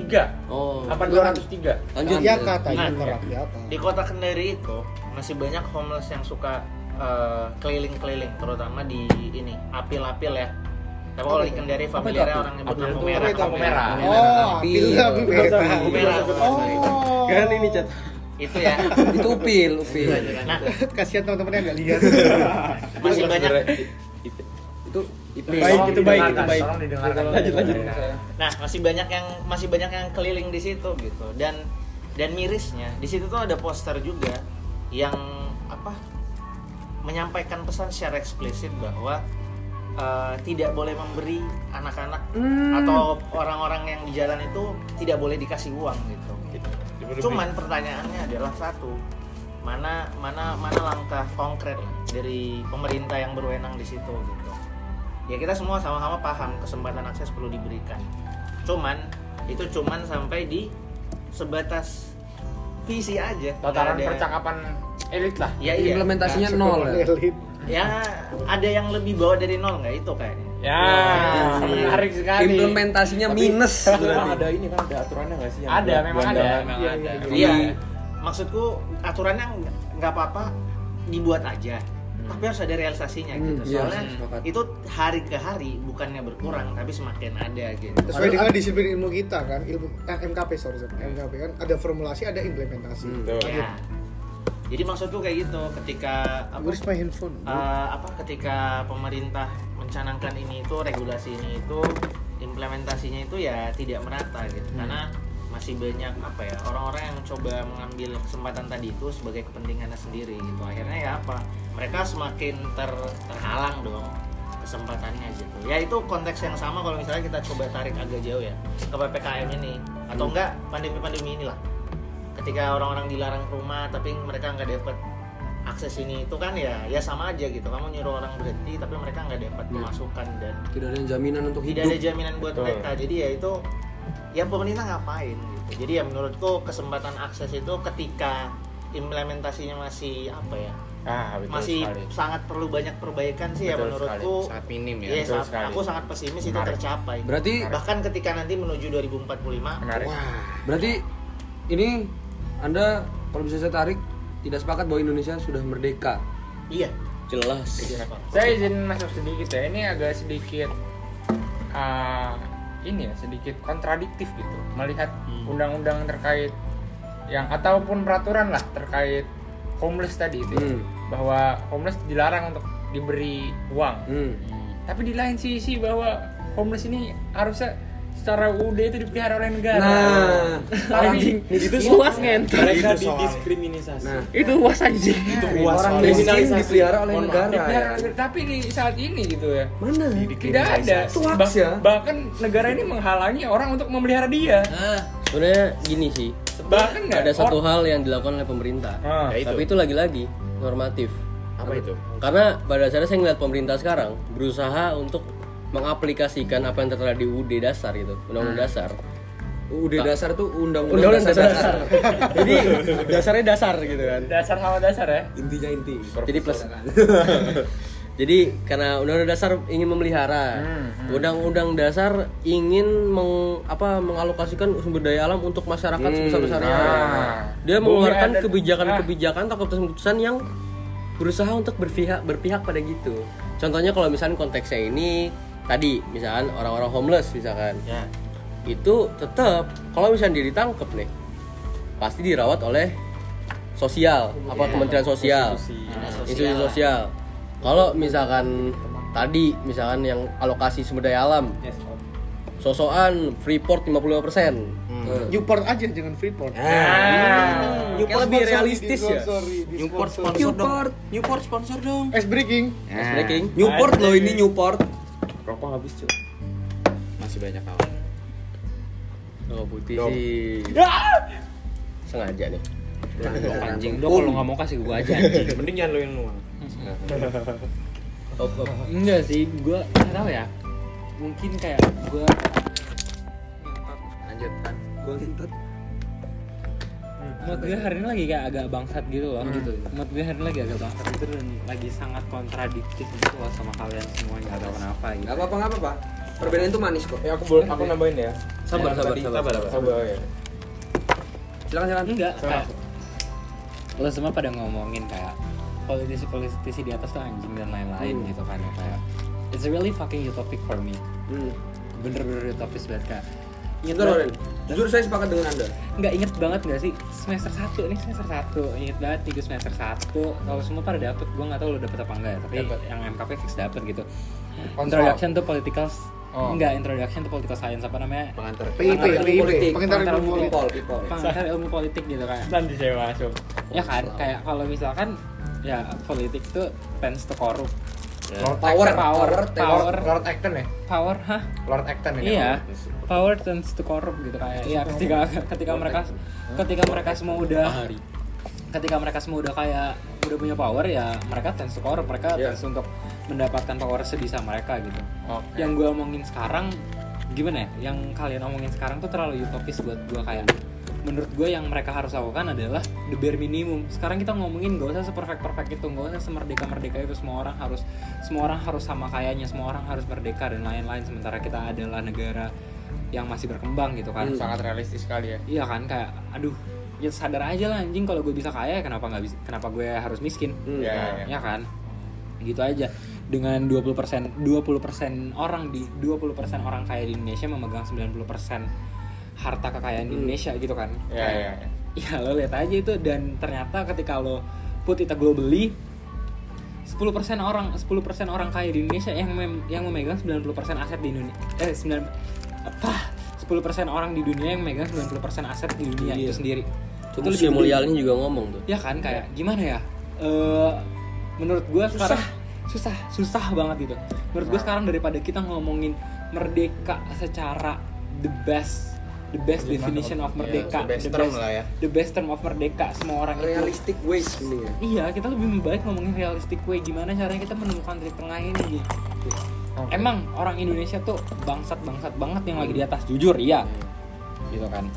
[SPEAKER 1] 193.
[SPEAKER 9] Oh.
[SPEAKER 1] Apa
[SPEAKER 7] Ya
[SPEAKER 9] Lanjut. ya.
[SPEAKER 7] katanya
[SPEAKER 3] Nah,
[SPEAKER 7] orang ya apa?
[SPEAKER 3] Di Kota Kendari itu masih banyak homeless yang suka eh, keliling-keliling, terutama di ini apil-apil ya. Tapi kalau di kendari familiarnya orang nyebut lampu merah,
[SPEAKER 11] Apa itu?
[SPEAKER 3] lampu merah.
[SPEAKER 7] Oh,
[SPEAKER 4] Pil.
[SPEAKER 7] <laughs> pil lampu merah.
[SPEAKER 3] Lampu merah.
[SPEAKER 7] Oh.
[SPEAKER 9] Kan ini cat.
[SPEAKER 3] Itu ya.
[SPEAKER 4] Itu upil, upil.
[SPEAKER 3] Nah,
[SPEAKER 7] <laughs> Kasihan teman-teman yang nggak lihat.
[SPEAKER 3] masih banyak
[SPEAKER 4] Itu ipil.
[SPEAKER 1] Baik, itu baik, itu baik.
[SPEAKER 11] Tolong didengarkan.
[SPEAKER 9] Lanjut, lanjut.
[SPEAKER 1] Iya.
[SPEAKER 3] Nah, masih banyak yang masih banyak yang keliling di situ gitu. Dan dan mirisnya, di situ tuh ada poster juga yang apa? menyampaikan pesan secara eksplisit bahwa eh, tidak boleh memberi anak-anak atau orang-orang yang di jalan itu tidak boleh dikasih uang gitu. Cuman pertanyaannya adalah satu, mana mana mana langkah konkret lah dari pemerintah yang berwenang di situ gitu. Ya kita semua sama-sama paham kesempatan akses perlu diberikan. Cuman itu cuman sampai di sebatas visi aja. nggak
[SPEAKER 1] Tataran
[SPEAKER 3] ada-
[SPEAKER 1] percakapan elit lah.
[SPEAKER 3] Ya iya.
[SPEAKER 4] Implementasinya nol ya.
[SPEAKER 7] Elit.
[SPEAKER 3] Ya ada yang lebih bawah dari nol nggak itu kayaknya.
[SPEAKER 1] Ya, menarik sekali.
[SPEAKER 4] Implementasinya minus
[SPEAKER 11] Memang
[SPEAKER 4] berarti.
[SPEAKER 11] <laughs> ada ini kan ada aturannya nggak sih? yang
[SPEAKER 1] Ada,
[SPEAKER 11] buat
[SPEAKER 1] memang ada.
[SPEAKER 11] bandar?
[SPEAKER 8] Memang
[SPEAKER 7] Iya,
[SPEAKER 8] ada.
[SPEAKER 7] iya,
[SPEAKER 3] Iya. Maksudku aturannya nggak- nggak apa-apa dibuat aja. Tapi harus ada realisasinya gitu.
[SPEAKER 4] iya,
[SPEAKER 3] Soalnya
[SPEAKER 4] sepakat.
[SPEAKER 3] itu hari ke hari bukannya berkurang tapi semakin ada gitu.
[SPEAKER 7] Sesuai dengan disiplin ilmu kita kan, ilmu eh, MKP sorry, sorry. MKP kan ada formulasi, ada implementasi.
[SPEAKER 3] Ya. Jadi maksudku kayak gitu ketika apa,
[SPEAKER 7] Where's my handphone?
[SPEAKER 3] eh, apa ketika pemerintah mencanangkan ini itu regulasi ini itu implementasinya itu ya tidak merata gitu karena masih banyak apa ya orang-orang yang coba mengambil kesempatan tadi itu sebagai kepentingannya sendiri gitu akhirnya ya apa mereka semakin ter- terhalang dong kesempatannya gitu ya itu konteks yang sama kalau misalnya kita coba tarik agak jauh ya ke ppkm ini atau enggak pandemi-pandemi inilah ketika orang-orang dilarang ke rumah tapi mereka nggak dapat akses ini itu kan ya ya sama aja gitu kamu nyuruh orang berhenti tapi mereka nggak dapat pemasukan dan
[SPEAKER 4] Tidak ada jaminan untuk
[SPEAKER 3] tidak
[SPEAKER 4] hidup.
[SPEAKER 3] ada jaminan buat
[SPEAKER 1] Betul.
[SPEAKER 3] mereka jadi ya itu ya pemerintah ngapain gitu jadi ya menurutku kesempatan akses itu ketika implementasinya masih apa ya
[SPEAKER 1] Ah, betul
[SPEAKER 3] masih
[SPEAKER 1] sekali.
[SPEAKER 3] sangat perlu banyak perbaikan sih ya
[SPEAKER 1] Betul
[SPEAKER 3] menurutku
[SPEAKER 10] Sangat minim ya.
[SPEAKER 3] ya,
[SPEAKER 1] betul
[SPEAKER 3] sangat-
[SPEAKER 1] sekali.
[SPEAKER 3] aku sangat pesimis itu
[SPEAKER 1] Menarik.
[SPEAKER 3] tercapai
[SPEAKER 4] Berarti
[SPEAKER 3] bahkan ketika nanti menuju 2045
[SPEAKER 1] Menarik.
[SPEAKER 4] berarti ini Anda kalau bisa saya tarik tidak sepakat bahwa Indonesia sudah merdeka.
[SPEAKER 3] iya
[SPEAKER 9] Jelas.
[SPEAKER 1] Saya izin masuk sedikit ya. Ini agak sedikit ah, ini ya, sedikit kontradiktif gitu. Melihat
[SPEAKER 4] Hmm.
[SPEAKER 1] undang-undang terkait yang ataupun peraturan lah terkait homeless tadi itu ya.
[SPEAKER 4] Hmm.
[SPEAKER 1] bahwa homeless dilarang untuk diberi uang.
[SPEAKER 4] Hmm.
[SPEAKER 1] Tapi di lain sisi bahwa homeless ini harusnya secara UUD itu dipelihara oleh negara.
[SPEAKER 4] Nah,
[SPEAKER 1] anjing.
[SPEAKER 8] itu luas ngentot
[SPEAKER 11] Mereka didiskriminasi.
[SPEAKER 4] Nah,
[SPEAKER 8] itu luas anjing
[SPEAKER 4] orang miskin dipelihara oleh negara. ya.
[SPEAKER 1] Dipelihara oleh negara. Tapi di saat ini gitu ya.
[SPEAKER 4] Mana?
[SPEAKER 1] Tidak ada.
[SPEAKER 4] Tuaks
[SPEAKER 1] Bah-
[SPEAKER 4] ya.
[SPEAKER 1] Bahkan negara ini menghalangi orang untuk memelihara dia.
[SPEAKER 9] Ah, sebenarnya gini sih.
[SPEAKER 1] Bahkan nggak
[SPEAKER 9] Ada satu
[SPEAKER 1] Eh, or-
[SPEAKER 9] hal yang dilakukan oleh pemerintah.
[SPEAKER 1] Ah,
[SPEAKER 10] Ya itu.
[SPEAKER 9] Tapi itu lagi-lagi normatif.
[SPEAKER 10] Apa itu?
[SPEAKER 9] Karena pada dasarnya saya ngeliat pemerintah sekarang berusaha untuk mengaplikasikan apa yang tertera di UUD dasar gitu, undang-undang
[SPEAKER 10] Ah.
[SPEAKER 9] dasar.
[SPEAKER 4] UUD Uh, dasar tuh undang-undang
[SPEAKER 9] Undang-undang
[SPEAKER 4] dasar,
[SPEAKER 9] dasar.
[SPEAKER 10] <laughs>
[SPEAKER 9] Jadi dasarnya dasar gitu kan.
[SPEAKER 1] dasar sama dasar ya.
[SPEAKER 4] Intinya inti.
[SPEAKER 9] Jadi plus. <laughs> Jadi karena undang-undang dasar ingin memelihara, undang-undang dasar ingin meng, apa mengalokasikan sumber daya alam untuk masyarakat sebesar-besarnya.
[SPEAKER 1] Nah.
[SPEAKER 9] Dia
[SPEAKER 1] Bumi
[SPEAKER 9] mengeluarkan
[SPEAKER 1] adat.
[SPEAKER 9] kebijakan-kebijakan atau keputusan-keputusan yang berusaha untuk berpihak berpihak pada gitu. Contohnya kalau misalnya konteksnya ini tadi misalkan orang-orang homeless misalkan
[SPEAKER 3] ya
[SPEAKER 9] itu tetap kalau misalnya dia ditangkap nih pasti dirawat oleh sosial apa kementerian sosial
[SPEAKER 3] dinas
[SPEAKER 9] institusi
[SPEAKER 3] lah.
[SPEAKER 9] sosial kalau misalkan tadi misalkan yang alokasi sumber daya alam sosokan freeport 55% persen
[SPEAKER 7] Newport aja jangan Freeport. Iya.
[SPEAKER 1] Ah.
[SPEAKER 9] kayak lebih realistis ya
[SPEAKER 7] Newport sponsor.
[SPEAKER 4] Newport.
[SPEAKER 10] Newport sponsor dong.
[SPEAKER 7] S breaking.
[SPEAKER 8] Ya,
[SPEAKER 9] Ice breaking
[SPEAKER 4] Newport loh ini Newport.
[SPEAKER 11] Rokok habis cuy. Masih banyak kawan.
[SPEAKER 9] oh putih sih sengaja nih
[SPEAKER 8] anjing dong kalau nggak mau kasih gua aja anjing
[SPEAKER 10] Mending jangan lo yang nuang.
[SPEAKER 9] Op, op.
[SPEAKER 8] enggak sih gua nggak tahu ya mungkin kayak gua
[SPEAKER 10] Lanjutkan.
[SPEAKER 4] Gua ngentot.
[SPEAKER 8] mood gue hari ini lagi kayak agak bangsat gitu loh gitu mood gue hari ini lagi agak bangsat itu dan lagi sangat kontradiktif gitu loh sama kalian semua nggak tahu kenapa gitu
[SPEAKER 4] Gak apa-apa, gak apa-apa. Perbedaan itu manis kok.
[SPEAKER 1] Ya aku boleh aku nambahin ya.
[SPEAKER 9] sabar sabar sabar
[SPEAKER 1] Coba ya.
[SPEAKER 4] Silakan silakan.
[SPEAKER 8] enggak kayak lo semua Hmm. pada ngomongin kayak politisi politisi di atas tuh anjing dan lain-lain gitu kan ya, kayak
[SPEAKER 2] it's really fucking utopic for me
[SPEAKER 4] Hmm.
[SPEAKER 2] bener-bener utopis banget kak Ingat
[SPEAKER 4] Bentar,
[SPEAKER 2] banget-
[SPEAKER 4] Loren. Jujur saya sepakat dengan Anda.
[SPEAKER 2] nggak inget banget nggak sih semester 1 nih semester 1 inget banget tiga semester 1 kalau semua pada dapet gue nggak tahu lo dapet apa enggak ya, tapi yang MKP fix dapet gitu introduction to political
[SPEAKER 1] Oh.
[SPEAKER 2] enggak introduction to political science apa namanya
[SPEAKER 10] pengantar
[SPEAKER 7] PIP, PIP, pengantar
[SPEAKER 2] Pengantar
[SPEAKER 7] ilmu politik.
[SPEAKER 4] People, people.
[SPEAKER 2] pengantar ilmu politik gitu kan
[SPEAKER 1] nanti saya masuk
[SPEAKER 2] ya kan kayak kalau misalkan ya politik tuh tends to corrupt
[SPEAKER 4] Power,
[SPEAKER 2] Power,
[SPEAKER 4] power.
[SPEAKER 2] power.
[SPEAKER 1] Lord, Lord Acton ya
[SPEAKER 2] power hah
[SPEAKER 1] Lord Acton ya
[SPEAKER 2] Iya, power tends to corrupt gitu kayak. Iya, ketika ketika mereka ketika mereka semua udah ketika mereka semua udah kayak udah punya power ya mereka tends to corrupt, mereka tends untuk mendapatkan power sebisa mereka gitu.
[SPEAKER 1] Oke.
[SPEAKER 2] Yang gue omongin sekarang gimana ya? Yang kalian omongin sekarang tuh terlalu utopis buat gue kayak. Menurut gue yang mereka harus lakukan adalah the bare minimum. Sekarang kita ngomongin gak usah seperfect perfect itu, gak usah semerdeka merdeka itu semua orang harus semua orang harus sama kayaknya, semua orang harus merdeka dan lain-lain. Sementara kita adalah negara yang masih berkembang gitu kan.
[SPEAKER 1] sangat realistis sekali ya
[SPEAKER 2] Iya kan kayak aduh ya sadar aja lah anjing kalau gue bisa kaya kenapa nggak bisa kenapa gue harus miskin
[SPEAKER 1] Iya,
[SPEAKER 2] Nah,
[SPEAKER 1] iya.
[SPEAKER 2] ya kan gitu aja dengan 20% 20% orang di 20% orang kaya di Indonesia memegang 90% harta kekayaan di Indonesia gitu kan
[SPEAKER 1] Hmm. Iya,
[SPEAKER 2] Kayak,
[SPEAKER 1] iya, iya.
[SPEAKER 2] ya lo lihat aja itu dan ternyata ketika lo put it globally 10% orang 10% orang kaya di Indonesia yang mem- yang memegang 90% aset di Indonesia eh 9 apa 10% orang di dunia yang memegang 90% aset di dunia itu sendiri.
[SPEAKER 9] Itu
[SPEAKER 2] lebih
[SPEAKER 9] si
[SPEAKER 2] gede.
[SPEAKER 9] Mulyani juga ngomong tuh.
[SPEAKER 2] Ya kan kayak gimana ya? Eh, menurut gua sekarang susah, susah banget gitu. Menurut gua sekarang daripada kita ngomongin merdeka secara the best the best definition of merdeka,
[SPEAKER 10] iya, the best term lah ya.
[SPEAKER 2] the best term of merdeka semua orang itu
[SPEAKER 4] Realistic ways ini ya.
[SPEAKER 2] Iya, kita lebih baik ngomongin realistic way gimana caranya kita menemukan titik tengah ini. gitu? Gi. Emang orang Indonesia tuh bangsat-bangsat banget yang lagi di atas jujur, iya. Gitu kan.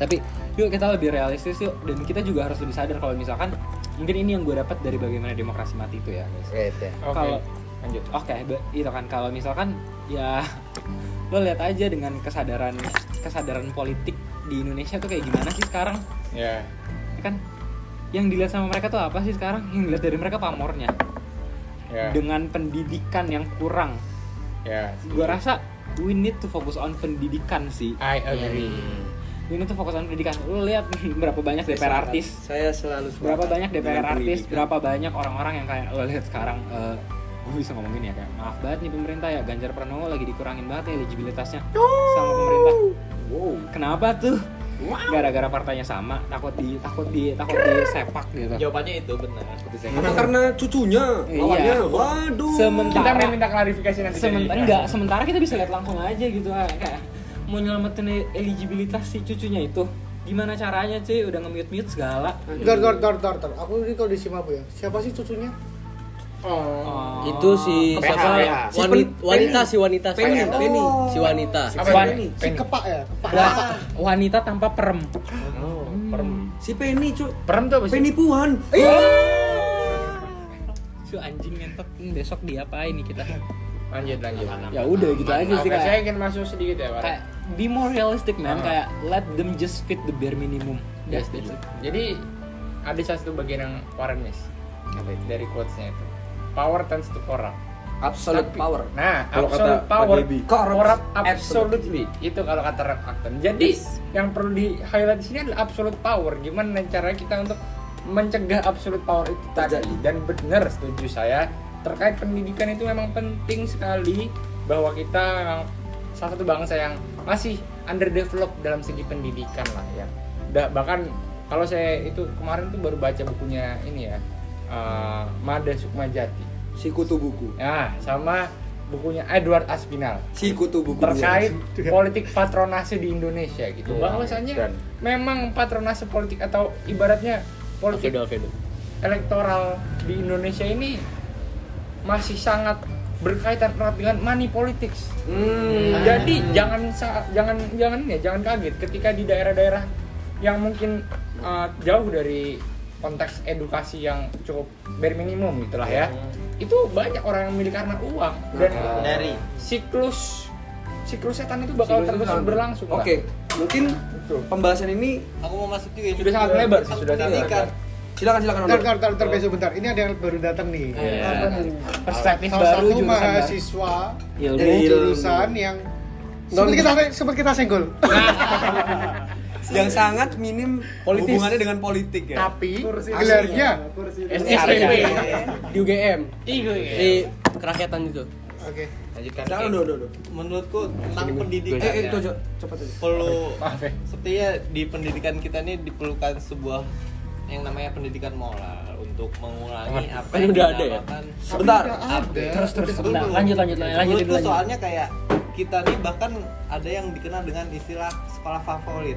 [SPEAKER 2] Tapi yuk kita lebih realistis yuk dan kita juga harus lebih sadar kalau misalkan mungkin ini yang gue dapat dari bagaimana demokrasi mati itu ya. guys.
[SPEAKER 1] oke
[SPEAKER 2] Kalau-
[SPEAKER 1] lanjut
[SPEAKER 2] Oke, be- itu kan kalau misalkan ya <laughs> lo lihat aja dengan kesadaran kesadaran politik di Indonesia tuh kayak gimana sih sekarang?
[SPEAKER 1] ya
[SPEAKER 2] Ya kan yang dilihat sama mereka tuh apa sih sekarang yang dilihat dari mereka pamornya
[SPEAKER 1] ya
[SPEAKER 2] dengan pendidikan yang kurang
[SPEAKER 1] ya
[SPEAKER 2] gue rasa we need to focus on pendidikan sih
[SPEAKER 1] I agree
[SPEAKER 2] we need to focus on pendidikan lu lihat <laughs> berapa banyak DPR artis
[SPEAKER 4] Saya selalu sepakat
[SPEAKER 2] berapa banyak DPR
[SPEAKER 4] dengan
[SPEAKER 2] artis
[SPEAKER 4] pendidikan.
[SPEAKER 2] berapa banyak orang-orang yang kayak lo lihat sekarang eh gue bisa ngomongin ya kayak maaf banget nih pemerintah ya Ganjar Pranowo lagi dikurangin banget ya eligibilitasnya sama pemerintah kenapa tuh gara-gara partainya sama takut di takut di takut di sepak gitu
[SPEAKER 10] Jawabannya itu benar.
[SPEAKER 4] Apa karena cucunya?
[SPEAKER 2] Iya.
[SPEAKER 4] Awalnya, waduh.
[SPEAKER 1] kita
[SPEAKER 2] sementara
[SPEAKER 1] minta klarifikasi nanti dari
[SPEAKER 2] sementara
[SPEAKER 1] Ika.
[SPEAKER 2] enggak sementara kita bisa lihat langsung aja gitu ah, kayak mau nyelamatin e- eligibilitas si cucunya itu gimana caranya cuy udah nge-mute mute segala
[SPEAKER 7] Dor, dor, dor, dor, dor. Aku ini kalau di Simabu ya. Siapa sih cucunya?
[SPEAKER 2] Oh.
[SPEAKER 9] Itu si
[SPEAKER 10] PH,
[SPEAKER 9] siapa?
[SPEAKER 10] PH.
[SPEAKER 9] Si wanita, wanita, si wanita, Oh. si
[SPEAKER 4] Penny,
[SPEAKER 9] wanita.
[SPEAKER 4] Penny.
[SPEAKER 9] Si wanita.
[SPEAKER 1] apa
[SPEAKER 2] Wan-
[SPEAKER 1] ini
[SPEAKER 7] Si Kepak ya? Kepak.
[SPEAKER 2] wanita tanpa perem
[SPEAKER 1] Oh,
[SPEAKER 2] Hmm.
[SPEAKER 1] perm
[SPEAKER 4] Si Penny, cu.
[SPEAKER 1] perm tuh apa sih
[SPEAKER 4] Penny Puhan.
[SPEAKER 2] cuy anjing ngentot Hmm, besok diapain nih kita
[SPEAKER 1] lanjut lanjut
[SPEAKER 2] ya udah gitu aja
[SPEAKER 1] Oke,
[SPEAKER 2] sih
[SPEAKER 1] saya
[SPEAKER 2] kayak
[SPEAKER 1] ingin masuk sedikit ya Pak.
[SPEAKER 2] kayak be more realistic man
[SPEAKER 1] Ah.
[SPEAKER 2] kayak let them just fit the bare minimum that's it
[SPEAKER 1] Jadi ada satu bagian yang Warren miss dari quotes-nya itu. Power tends to corrupt.
[SPEAKER 4] Absolute
[SPEAKER 1] Tapi-
[SPEAKER 4] power.
[SPEAKER 1] Nah,
[SPEAKER 4] Kalau kata
[SPEAKER 1] absolute power
[SPEAKER 4] PDB,
[SPEAKER 1] corrupt,
[SPEAKER 4] corrupt
[SPEAKER 1] absolutely. Itu kalau kata Rev Acton. Jadi yang perlu di highlight di sini adalah absolute power. Gimana caranya kita untuk mencegah absolute power itu tadi?
[SPEAKER 4] Terjadi.
[SPEAKER 1] Dan benar setuju saya terkait pendidikan itu memang penting sekali bahwa kita salah satu bangsa yang masih underdeveloped dalam segi pendidikan lah ya. Da- bahkan kalau saya itu kemarin tuh baru baca bukunya ini ya eh, Mada Sukmajati.
[SPEAKER 4] Si kutu buku.
[SPEAKER 1] Nah, sama bukunya Edward Aspinall
[SPEAKER 4] Si kutu buku.
[SPEAKER 1] terkait politik patronase di Indonesia gitu. Bahwasanya
[SPEAKER 10] Iya, Dan-
[SPEAKER 1] memang patronase politik atau ibaratnya politik
[SPEAKER 10] Alfredo, Alfredo.
[SPEAKER 1] elektoral di Indonesia ini masih sangat berkaitan erat dengan money politics. Nah,
[SPEAKER 4] Hmm.
[SPEAKER 1] Jadi jangan sa- jangan jangan ya jangan kaget ketika di daerah-daerah yang mungkin uh, jauh dari konteks edukasi yang cukup bare minimum gitulah
[SPEAKER 10] Iya.
[SPEAKER 1] ya. Itu banyak orang yang milik karena uang dan
[SPEAKER 10] Nah.
[SPEAKER 3] Dari
[SPEAKER 1] siklus siklus setan itu bakal terus berlangsung. lah.
[SPEAKER 4] Oke, mungkin
[SPEAKER 1] Betul.
[SPEAKER 4] pembahasan ini
[SPEAKER 12] Aku mau masuk juga.
[SPEAKER 1] Sudah sangat lebar sih, sudah sangat
[SPEAKER 12] pendidikan.
[SPEAKER 1] lebar.
[SPEAKER 4] silakan silakan
[SPEAKER 7] Ntar, ntar, ntar, ntar, besok bentar. Ini ada yang baru datang nih.
[SPEAKER 2] Iya.
[SPEAKER 7] Kan, Apa nih?
[SPEAKER 2] Perspektif
[SPEAKER 7] Salah
[SPEAKER 2] baru,
[SPEAKER 7] satu
[SPEAKER 2] jurusan baru.
[SPEAKER 7] mahasiswa
[SPEAKER 2] Ilmu.
[SPEAKER 7] jurusan yang sempat kita sempat kita senggol.
[SPEAKER 4] yang sangat minim hubungannya dengan politik ya
[SPEAKER 7] Tapi gelarnya
[SPEAKER 9] STP di UGM di kerakyatan itu
[SPEAKER 7] Oke.
[SPEAKER 3] Lanjutkan.
[SPEAKER 4] silakan do do do
[SPEAKER 12] menurutku tentang pendidikan
[SPEAKER 4] eh eh
[SPEAKER 12] ya.
[SPEAKER 4] Tojo cepat aja
[SPEAKER 12] perlu
[SPEAKER 1] ya.
[SPEAKER 12] sepertinya di pendidikan kita ini diperlukan sebuah yang namanya pendidikan moral untuk mengurangi apa
[SPEAKER 9] Kan
[SPEAKER 12] yang
[SPEAKER 9] udah ada ya?
[SPEAKER 12] dinamakan
[SPEAKER 4] sebentar
[SPEAKER 7] Ada.
[SPEAKER 2] terus
[SPEAKER 12] Dulu-
[SPEAKER 2] Nah, lanjut lanjut lanjut lanjut dulu,
[SPEAKER 12] dulu tuh
[SPEAKER 2] lanjut.
[SPEAKER 12] soalnya kayak kita nih bahkan ada yang dikenal dengan istilah sekolah favorit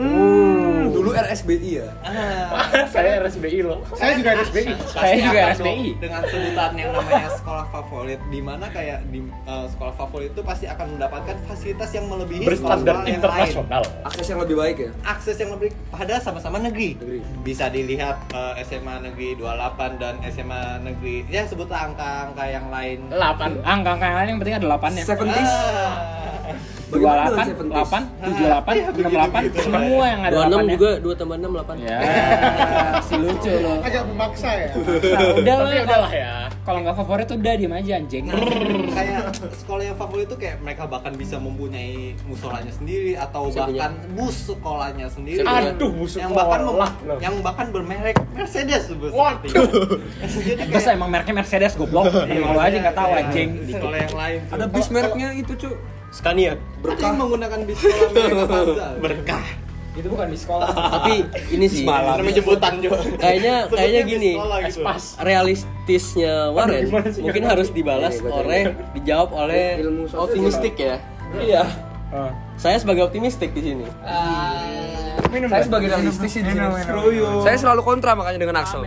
[SPEAKER 4] Hmm, dulu RSBI ya
[SPEAKER 12] ah,
[SPEAKER 1] <laughs> saya RSBI loh
[SPEAKER 7] Saya juga ada SBI.
[SPEAKER 2] saya
[SPEAKER 12] pasti
[SPEAKER 2] juga
[SPEAKER 12] akan
[SPEAKER 2] RSBI
[SPEAKER 12] dong dengan sebutan yang namanya sekolah favorit di mana kayak di eh, sekolah favorit itu pasti akan mendapatkan fasilitas yang melebihi sekolah-sekolah
[SPEAKER 1] berstandar
[SPEAKER 12] yang lain
[SPEAKER 1] internasional
[SPEAKER 4] akses yang lebih baik ya
[SPEAKER 12] akses yang lebih pada sama-sama negeri. Bisa dilihat eh, SMA negeri 28 dan SMA negeri ya sebutlah angka-angka yang lain.
[SPEAKER 2] 8 angka angka yang lain yang penting ada 8 nya
[SPEAKER 4] seventies
[SPEAKER 12] Ah. Iya,
[SPEAKER 4] Bagaimana dengan 70s?
[SPEAKER 2] 28, 8,
[SPEAKER 12] <laughs>
[SPEAKER 2] 78, 68, semua yang ada ya. 8
[SPEAKER 9] 26 juga 2 tambah 6 8
[SPEAKER 2] Ya, si lucu lo.
[SPEAKER 7] Agak memaksa ya.
[SPEAKER 2] Nah, <laughs> udah lah,
[SPEAKER 1] tapi
[SPEAKER 2] kalau
[SPEAKER 1] udahlah ya
[SPEAKER 2] kalau nggak favorit udah diem aja anjing.
[SPEAKER 12] Nah, kayak sekolah yang favorit itu kayak mereka bahkan bisa mempunyai musolanya sendiri atau
[SPEAKER 9] Saya punya.
[SPEAKER 12] bahkan bus sekolahnya sendiri.
[SPEAKER 9] Saya
[SPEAKER 1] aduh musuh
[SPEAKER 12] yang bahkan mem-
[SPEAKER 1] sekolah. Nah.
[SPEAKER 12] yang bahkan bermerek Mercedes seperti Jadi
[SPEAKER 2] Terus
[SPEAKER 12] kayak
[SPEAKER 2] emang mereknya Mercedes goblok. Emang lo aja nggak tahu
[SPEAKER 12] Iya,
[SPEAKER 2] anjing.
[SPEAKER 12] di sekolah yang lain tuh.
[SPEAKER 4] ada bis mereknya itu cu
[SPEAKER 9] Scania
[SPEAKER 12] Tadi menggunakan bis sekolah mereka Plaza.
[SPEAKER 1] berkah
[SPEAKER 2] Itu bukan di sekolah.
[SPEAKER 9] tapi ini sih
[SPEAKER 1] namanya jemputan juga
[SPEAKER 9] kayaknya kayaknya
[SPEAKER 12] Sebutnya bis
[SPEAKER 9] gini
[SPEAKER 12] sekolah gitu.
[SPEAKER 9] realistisnya Warren
[SPEAKER 1] gimana sih,
[SPEAKER 9] mungkin
[SPEAKER 1] kata-
[SPEAKER 9] harus dibalas
[SPEAKER 4] Ini, gua
[SPEAKER 9] oleh dijawab oleh
[SPEAKER 4] Ilmu sosial.
[SPEAKER 9] optimistik ya iya
[SPEAKER 1] Eh.
[SPEAKER 9] saya sebagai optimistik di sini
[SPEAKER 4] saya sebagai realistis sih di sini. saya selalu kontra makanya dengan Axel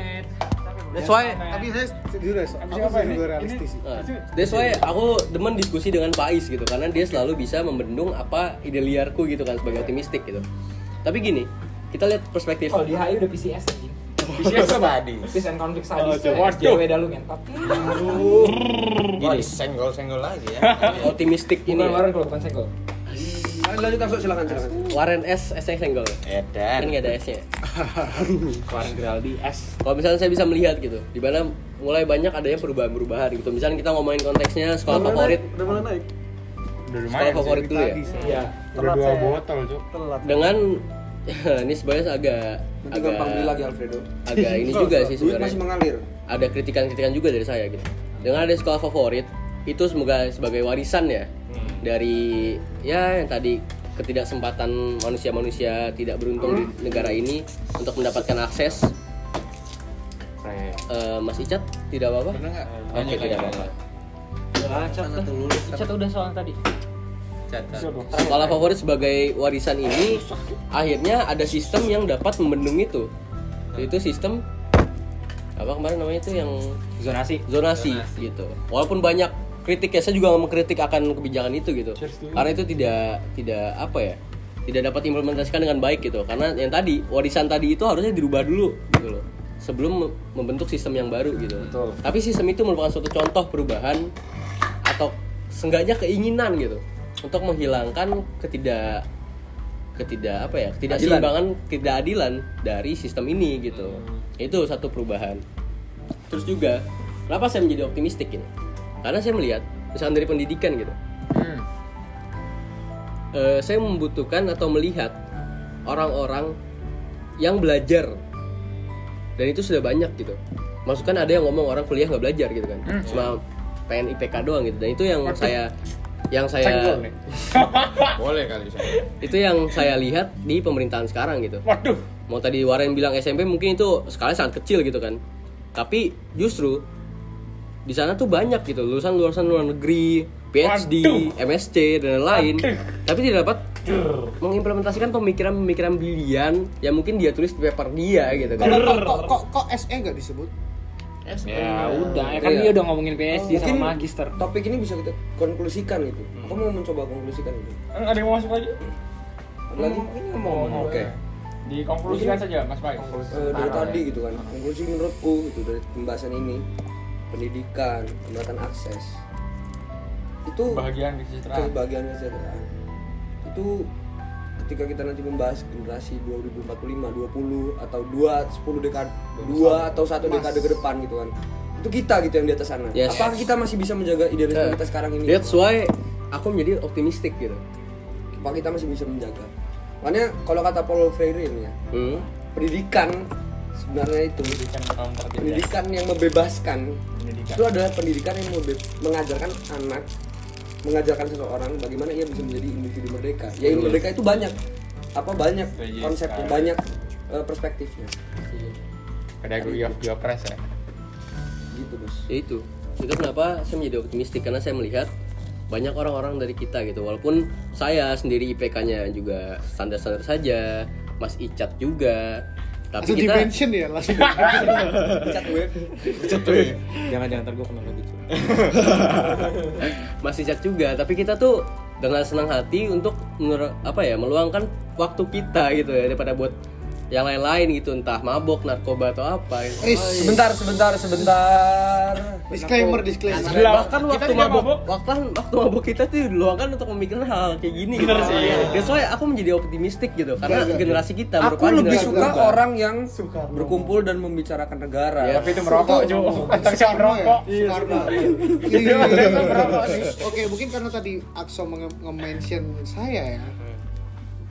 [SPEAKER 9] that's why
[SPEAKER 7] Tapi saya jujur ya, aku
[SPEAKER 1] apa
[SPEAKER 7] sih
[SPEAKER 1] ini?
[SPEAKER 7] juga realistis sih.
[SPEAKER 9] Nah, That's
[SPEAKER 4] gitu.
[SPEAKER 9] why aku demen diskusi dengan Pak Ais gitu karena dia selalu bisa membendung apa ide liarku gitu kan sebagai optimistik gitu. Tapi gini, kita lihat perspektif.
[SPEAKER 4] Oh,
[SPEAKER 8] Kalau di HI udah PCS anjing.
[SPEAKER 10] Bisnis tadi.
[SPEAKER 8] Peace and Conflict Studies.
[SPEAKER 1] Oh, coba,
[SPEAKER 8] SJW dah lu ngentot.
[SPEAKER 10] Gini, senggol-senggol lagi ya.
[SPEAKER 9] <laughs> Optimistik ini
[SPEAKER 8] Bukan
[SPEAKER 9] ya.
[SPEAKER 8] warung kalau bukan senggol.
[SPEAKER 4] lanjut Axel silakan silakan
[SPEAKER 9] Warren S S-nya senggol. Kan
[SPEAKER 10] Edan.
[SPEAKER 9] nggak ada S-nya.
[SPEAKER 8] Warung Geraldi S.
[SPEAKER 9] Kalau misalnya saya bisa melihat gitu, di mana mulai banyak adanya perubahan-perubahan gitu. Misalnya kita ngomongin konteksnya sekolah favorit,
[SPEAKER 4] udah mulai naik
[SPEAKER 1] udah
[SPEAKER 9] sekolah favorit dulu ya.
[SPEAKER 8] Iya.
[SPEAKER 1] udah dua botol tuh
[SPEAKER 9] Dengan <laughs> ini sebenarnya agak
[SPEAKER 4] nanti
[SPEAKER 9] agak
[SPEAKER 4] gampang beli lagi Alfredo
[SPEAKER 9] agak ini juga sih
[SPEAKER 4] duit
[SPEAKER 9] sebenarnya.
[SPEAKER 4] masih mengalir
[SPEAKER 9] ada kritikan-kritikan juga dari saya gitu. Dengan ada sekolah favorit itu semoga sebagai warisan ya dari ya yang tadi ketidaksempatan manusia-manusia tidak beruntung di negara ini untuk mendapatkan akses. Eh, Mas Icat tidak apa-apa? Oke, tidak apa-apa.
[SPEAKER 8] Chat udah soal tadi.
[SPEAKER 9] Sekolah favorit sebagai warisan ini akhirnya ada sistem yang dapat membendung itu. Itu sistem apa kemarin namanya itu yang
[SPEAKER 8] Zonasi.
[SPEAKER 9] zonasi, gitu. Walaupun banyak kritik ya, saya juga mengkritik akan kebijakan itu gitu. Karena itu tidak tidak apa ya? Tidak dapat implementasikan dengan baik gitu. Karena yang tadi warisan tadi itu harusnya dirubah dulu gitu loh. Sebelum mem- membentuk sistem yang baru gitu. Tapi sistem itu merupakan suatu contoh perubahan atau seenggaknya keinginan gitu untuk menghilangkan ketidak ketidak apa ya ketidakseimbangan ketidakadilan dari sistem ini gitu itu satu perubahan terus juga kenapa saya menjadi optimistik ini karena saya melihat misalkan dari pendidikan gitu Eh, saya membutuhkan atau melihat orang-orang yang belajar dan itu sudah banyak gitu masukan ada yang ngomong orang kuliah nggak belajar gitu kan
[SPEAKER 1] Hmm, iya.
[SPEAKER 9] cuma pengen IPK doang gitu dan itu yang saya yang saya
[SPEAKER 1] senggol nih
[SPEAKER 10] Boleh kali saya.
[SPEAKER 9] itu yang saya lihat di pemerintahan sekarang gitu
[SPEAKER 1] waduh
[SPEAKER 9] mau tadi Warren bilang SMP mungkin itu skalanya sangat kecil gitu kan tapi justru di sana tuh banyak gitu lulusan lulusan luar negeri PhD MSc dan lain-lain tapi tidak dapat mengimplementasikan pemikiran-pemikiran brilian yang mungkin dia tulis di paper dia gitu kan
[SPEAKER 7] Kok kok kok, kok SE nggak disebut?
[SPEAKER 8] Ya udah, ya kan
[SPEAKER 9] Iya.
[SPEAKER 8] dia udah ngomongin PSD
[SPEAKER 4] Mungkin
[SPEAKER 8] sama magister.
[SPEAKER 4] topik ini bisa kita konklusikan gitu aku mau mencoba konklusikan itu
[SPEAKER 1] ada yang mau masuk aja
[SPEAKER 4] Ada lagi
[SPEAKER 9] Hmm.
[SPEAKER 1] ini ngomong
[SPEAKER 4] oke
[SPEAKER 1] dikonklusikan saja Mas Baik
[SPEAKER 4] Eh, dari tadi
[SPEAKER 9] ya.
[SPEAKER 1] ya.
[SPEAKER 4] gitu kan konklusi menurutku gitu dari pembahasan ini pendidikan pemerataan akses itu
[SPEAKER 1] bahagian di sejahtera
[SPEAKER 4] kebahagiaan kesejahteraan itu ketika ketika kita nanti membahas generasi 2045, 20 atau 2 10 dekade 2 atau 1 dekade ke depan gitu kan. Itu kita gitu yang di atas sana.
[SPEAKER 9] Yes. Eh,
[SPEAKER 4] Apakah kita masih bisa menjaga idealisme
[SPEAKER 9] Yeah.
[SPEAKER 4] kita sekarang ini?
[SPEAKER 9] That's why aku menjadi optimistik gitu.
[SPEAKER 4] Apa kita masih bisa menjaga? Makanya kalau kata Paulo Freire ini ya,
[SPEAKER 9] Hmm.
[SPEAKER 4] pendidikan sebenarnya itu pendidikan yang membebaskan itu adalah pendidikan yang membe- mengajarkan anak mengajarkan seseorang bagaimana ia bisa menjadi individu merdeka ya
[SPEAKER 9] Betul.
[SPEAKER 4] merdeka itu banyak apa banyak
[SPEAKER 1] Setuju
[SPEAKER 4] konsepnya
[SPEAKER 1] sekali.
[SPEAKER 4] banyak eh, perspektifnya
[SPEAKER 1] Ada gue of Geopres ya.
[SPEAKER 4] gitu bos
[SPEAKER 9] Ya itu. Itu kenapa saya menjadi optimistik karena saya melihat banyak orang-orang dari kita gitu. Walaupun saya sendiri IPK-nya juga standar-standar saja, Mas Icat juga. Tapi
[SPEAKER 7] langsung
[SPEAKER 9] kita
[SPEAKER 7] dimension ya langsung
[SPEAKER 4] Dicat web
[SPEAKER 11] Jangan-jangan ntar gue kenal lagi cuy.
[SPEAKER 9] <laughs> masih cat juga tapi kita tuh dengan senang hati untuk menur- apa ya meluangkan waktu kita gitu ya daripada buat yang lain-lain gitu entah mabok narkoba atau apa gitu.
[SPEAKER 7] Is,
[SPEAKER 4] sebentar sebentar sebentar
[SPEAKER 7] disclaimer disclaimer
[SPEAKER 9] bahkan kan waktu mabok, waktu kan waktu mabok kita tuh diluangkan untuk memikirkan hal kayak gini bener sih that's why aku menjadi optimistik gitu karena generasi kita
[SPEAKER 4] aku
[SPEAKER 9] merupakan
[SPEAKER 4] lebih
[SPEAKER 9] generasi
[SPEAKER 4] suka
[SPEAKER 9] berubah.
[SPEAKER 4] orang yang berkumpul dan membicarakan negara
[SPEAKER 9] Ya.
[SPEAKER 1] Tapi itu ya. merokok Iya, juga. Tapi jangan merokok.
[SPEAKER 7] Soekarno. ya? Iya, iya, iya. Oke, mungkin karena tadi Akso menge- nge-mention saya ya.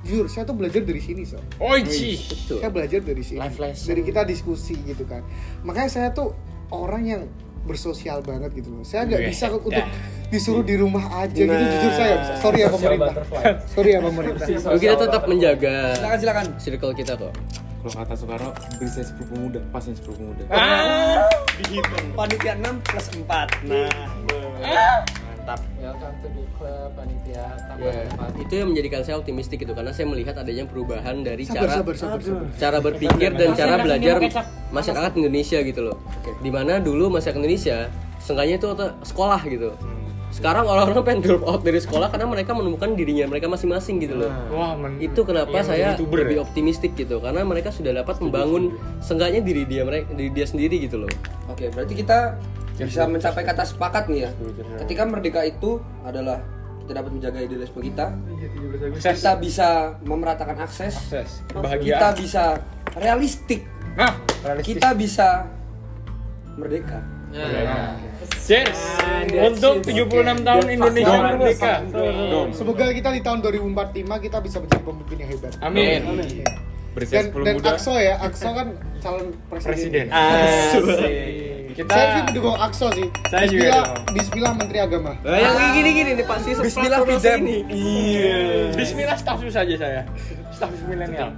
[SPEAKER 7] Jujur, saya tuh belajar dari sini, so.
[SPEAKER 1] Oichi.
[SPEAKER 9] Betul.
[SPEAKER 4] Eh,
[SPEAKER 7] Saya belajar dari sini.
[SPEAKER 11] Life lesson.
[SPEAKER 7] Dari kita diskusi gitu kan. Makanya saya tuh orang yang bersosial banget gitu loh. Saya nggak
[SPEAKER 1] Wih,
[SPEAKER 7] bisa untuk
[SPEAKER 1] dah.
[SPEAKER 7] disuruh di rumah aja gitu jujur saya nggak bisa. Sorry
[SPEAKER 1] Iya,
[SPEAKER 7] ya pemerintah.
[SPEAKER 1] <laughs>
[SPEAKER 7] Sorry ya pemerintah.
[SPEAKER 9] Tapi kita tetap menjaga
[SPEAKER 4] silakan silakan
[SPEAKER 9] circle kita kok
[SPEAKER 11] Kalau kata Soekarno, bisnis sepuluh pemuda, pasnya sepuluh pemuda.
[SPEAKER 4] panitia 6 plus 4
[SPEAKER 1] Ya, kan Iya.
[SPEAKER 9] itu yang menjadikan saya optimistik gitu karena saya melihat adanya perubahan dari
[SPEAKER 7] Sabar,
[SPEAKER 9] cara
[SPEAKER 7] sabar, sabar, sabar.
[SPEAKER 9] cara berpikir dan cara
[SPEAKER 8] Masyarakat
[SPEAKER 9] belajar
[SPEAKER 8] minum kecap.
[SPEAKER 9] masyarakat Indonesia gitu loh. Dimana dulu masyarakat Indonesia sengganya itu otak- sekolah gitu. Sekarang orang-orang pengen drop out dari sekolah karena mereka menemukan dirinya mereka masing-masing gitu loh.
[SPEAKER 1] Wah,
[SPEAKER 9] Itu kenapa
[SPEAKER 1] Yang
[SPEAKER 9] saya
[SPEAKER 1] jadi youtuber
[SPEAKER 9] lebih
[SPEAKER 1] ya?
[SPEAKER 9] optimistik gitu karena mereka sudah dapat membangun sengganya diri dia mereka diri dia sendiri gitu loh.
[SPEAKER 4] Oke, berarti kita bisa mencapai kata sepakat nih ya. Ketika merdeka itu adalah kita dapat menjaga idealisme kita,
[SPEAKER 1] Akses.
[SPEAKER 4] kita bisa memeratakan akses,
[SPEAKER 1] Akses.
[SPEAKER 4] kita
[SPEAKER 1] Kebahagiaan.
[SPEAKER 4] bisa realistik,
[SPEAKER 1] Nah, realistis.
[SPEAKER 4] kita bisa merdeka.
[SPEAKER 1] Iya. Nah. Cheers untuk 76 tahun Indonesia
[SPEAKER 4] Dom.
[SPEAKER 1] merdeka.
[SPEAKER 7] Semoga kita di tahun 2045 kita bisa menjadi pemimpin yang hebat.
[SPEAKER 1] Amin.
[SPEAKER 7] Dan,
[SPEAKER 11] Bersiap sepuluh
[SPEAKER 7] dan
[SPEAKER 11] pemuda.
[SPEAKER 7] Akso ya, Akso kan calon
[SPEAKER 1] Presiden.
[SPEAKER 7] presiden.
[SPEAKER 1] Asik. Kita
[SPEAKER 7] Saya sih mendukung Akso sih.
[SPEAKER 1] nah. Saya juga
[SPEAKER 7] Bismillah,
[SPEAKER 1] dong.
[SPEAKER 7] Bismillah Menteri Agama.
[SPEAKER 9] Nah, yang gini-gini nih pasti
[SPEAKER 4] Bismillah,
[SPEAKER 9] platform
[SPEAKER 4] Bidem.
[SPEAKER 9] ini.
[SPEAKER 1] Iya. Bismillah status saja saya. Status milenial.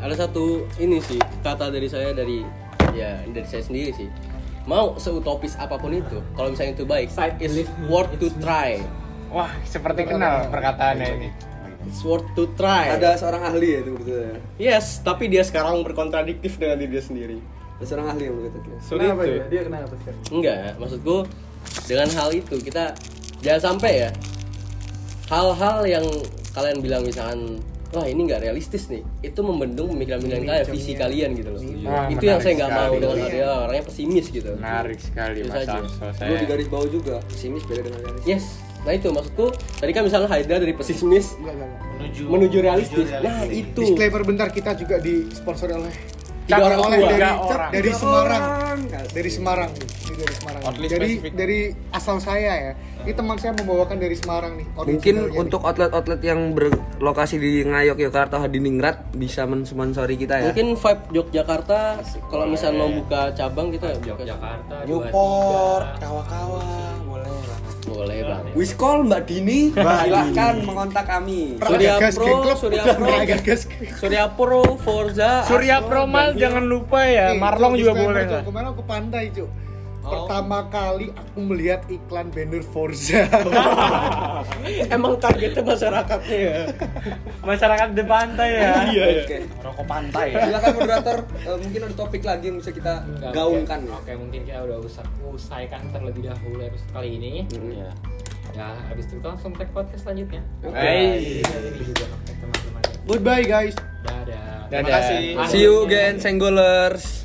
[SPEAKER 9] ada satu ini sih kata dari saya dari ya dari saya sendiri sih mau seutopis apapun itu kalau misalnya itu baik it's worth to try
[SPEAKER 1] Wah, seperti kenal perkataannya ini.
[SPEAKER 9] it's worth to try
[SPEAKER 4] Ada seorang ahli ya itu begitu ya.
[SPEAKER 9] yes tapi dia sekarang berkontradiktif dengan diri dia sendiri
[SPEAKER 4] Ada seorang ahli yang gitu. begitu.
[SPEAKER 1] Sulit itu.
[SPEAKER 2] dia kenapa ya? sekarang?
[SPEAKER 9] enggak maksudku dengan hal itu kita jangan sampai ya hal-hal yang kalian bilang misalkan wah ini nggak realistis nih itu membendung pemikiran-pemikiran kalian visi kalian gitu loh
[SPEAKER 1] Ah,
[SPEAKER 9] itu
[SPEAKER 1] menarik
[SPEAKER 9] yang saya nggak mau
[SPEAKER 1] sekali.
[SPEAKER 9] dengan dia orangnya pesimis gitu
[SPEAKER 1] Menarik sekali
[SPEAKER 9] Itu
[SPEAKER 1] Mas
[SPEAKER 9] saja.
[SPEAKER 1] Samso
[SPEAKER 4] Perlu di
[SPEAKER 1] saya.
[SPEAKER 4] garis bawah juga, pesimis beda dengan realistis.
[SPEAKER 9] Yes, nah itu maksudku. Tadi kan misalnya Haida dari pesimis
[SPEAKER 7] Enggak, enggak, enggak.
[SPEAKER 3] menuju
[SPEAKER 9] menuju realistis. Nah
[SPEAKER 3] realistis.
[SPEAKER 9] itu
[SPEAKER 7] Disclaimer bentar kita juga disponsori oleh
[SPEAKER 9] tiga orang
[SPEAKER 7] oleh
[SPEAKER 9] tua.
[SPEAKER 7] dari
[SPEAKER 1] Tiga orang.
[SPEAKER 7] dari Semarang.
[SPEAKER 4] Nggak
[SPEAKER 7] Dari Semarang nih. Ini dari Semarang.
[SPEAKER 11] Outlet
[SPEAKER 7] Dari
[SPEAKER 11] spesifik.
[SPEAKER 7] dari asal saya ya. Ini teman saya membawakan dari Semarang nih.
[SPEAKER 4] Mungkin
[SPEAKER 7] originalnya nih.
[SPEAKER 4] untuk outlet-outlet yang berlokasi di Ngayok, Yogyakarta, Hadiningrat bisa mensponsori kita ya.
[SPEAKER 9] Mungkin vibe Yogyakarta kalau misalnya mau buka cabang kita buka
[SPEAKER 2] Jakarta,
[SPEAKER 11] Newport, kawa-kawa, boleh lah.
[SPEAKER 9] boleh bang.
[SPEAKER 4] Wiskol Mbak Dini, silahkan mengontak kami.
[SPEAKER 9] Surya
[SPEAKER 7] Gas
[SPEAKER 9] Pro,
[SPEAKER 7] Geng Club.
[SPEAKER 9] Surya Pro,
[SPEAKER 7] Gas Gas.
[SPEAKER 9] Surya Pro, Forza,
[SPEAKER 1] Surya Promal jangan lupa ya,
[SPEAKER 7] Eh,
[SPEAKER 1] Marlong
[SPEAKER 7] Cuk,
[SPEAKER 1] juga
[SPEAKER 7] disclaimer,
[SPEAKER 1] boleh
[SPEAKER 7] Cuk.
[SPEAKER 1] lah.
[SPEAKER 7] Kemarin aku pandai, Cuk. Pertama kali aku melihat iklan banner
[SPEAKER 1] <laughs>
[SPEAKER 7] Forza.
[SPEAKER 9] emang targetnya masyarakatnya ya.
[SPEAKER 1] Masyarakat di pantai ya. Iya.
[SPEAKER 4] Oke.
[SPEAKER 11] Rokok pantai ya.
[SPEAKER 4] Silakan moderator, eh, mungkin ada topik lagi yang bisa kita gaungkan.
[SPEAKER 2] Oke, oke, mungkin kita udah usah usaikan terlebih dahulu episode kali ini.
[SPEAKER 4] Mm-mm.
[SPEAKER 2] Ya, habis itu kita langsung take podcast selanjutnya.
[SPEAKER 1] Hey.
[SPEAKER 2] Ini juga teman-teman.
[SPEAKER 7] Goodbye guys.
[SPEAKER 2] Dadah.
[SPEAKER 1] Dadah.
[SPEAKER 11] kasih.
[SPEAKER 4] See you again, Senggolers.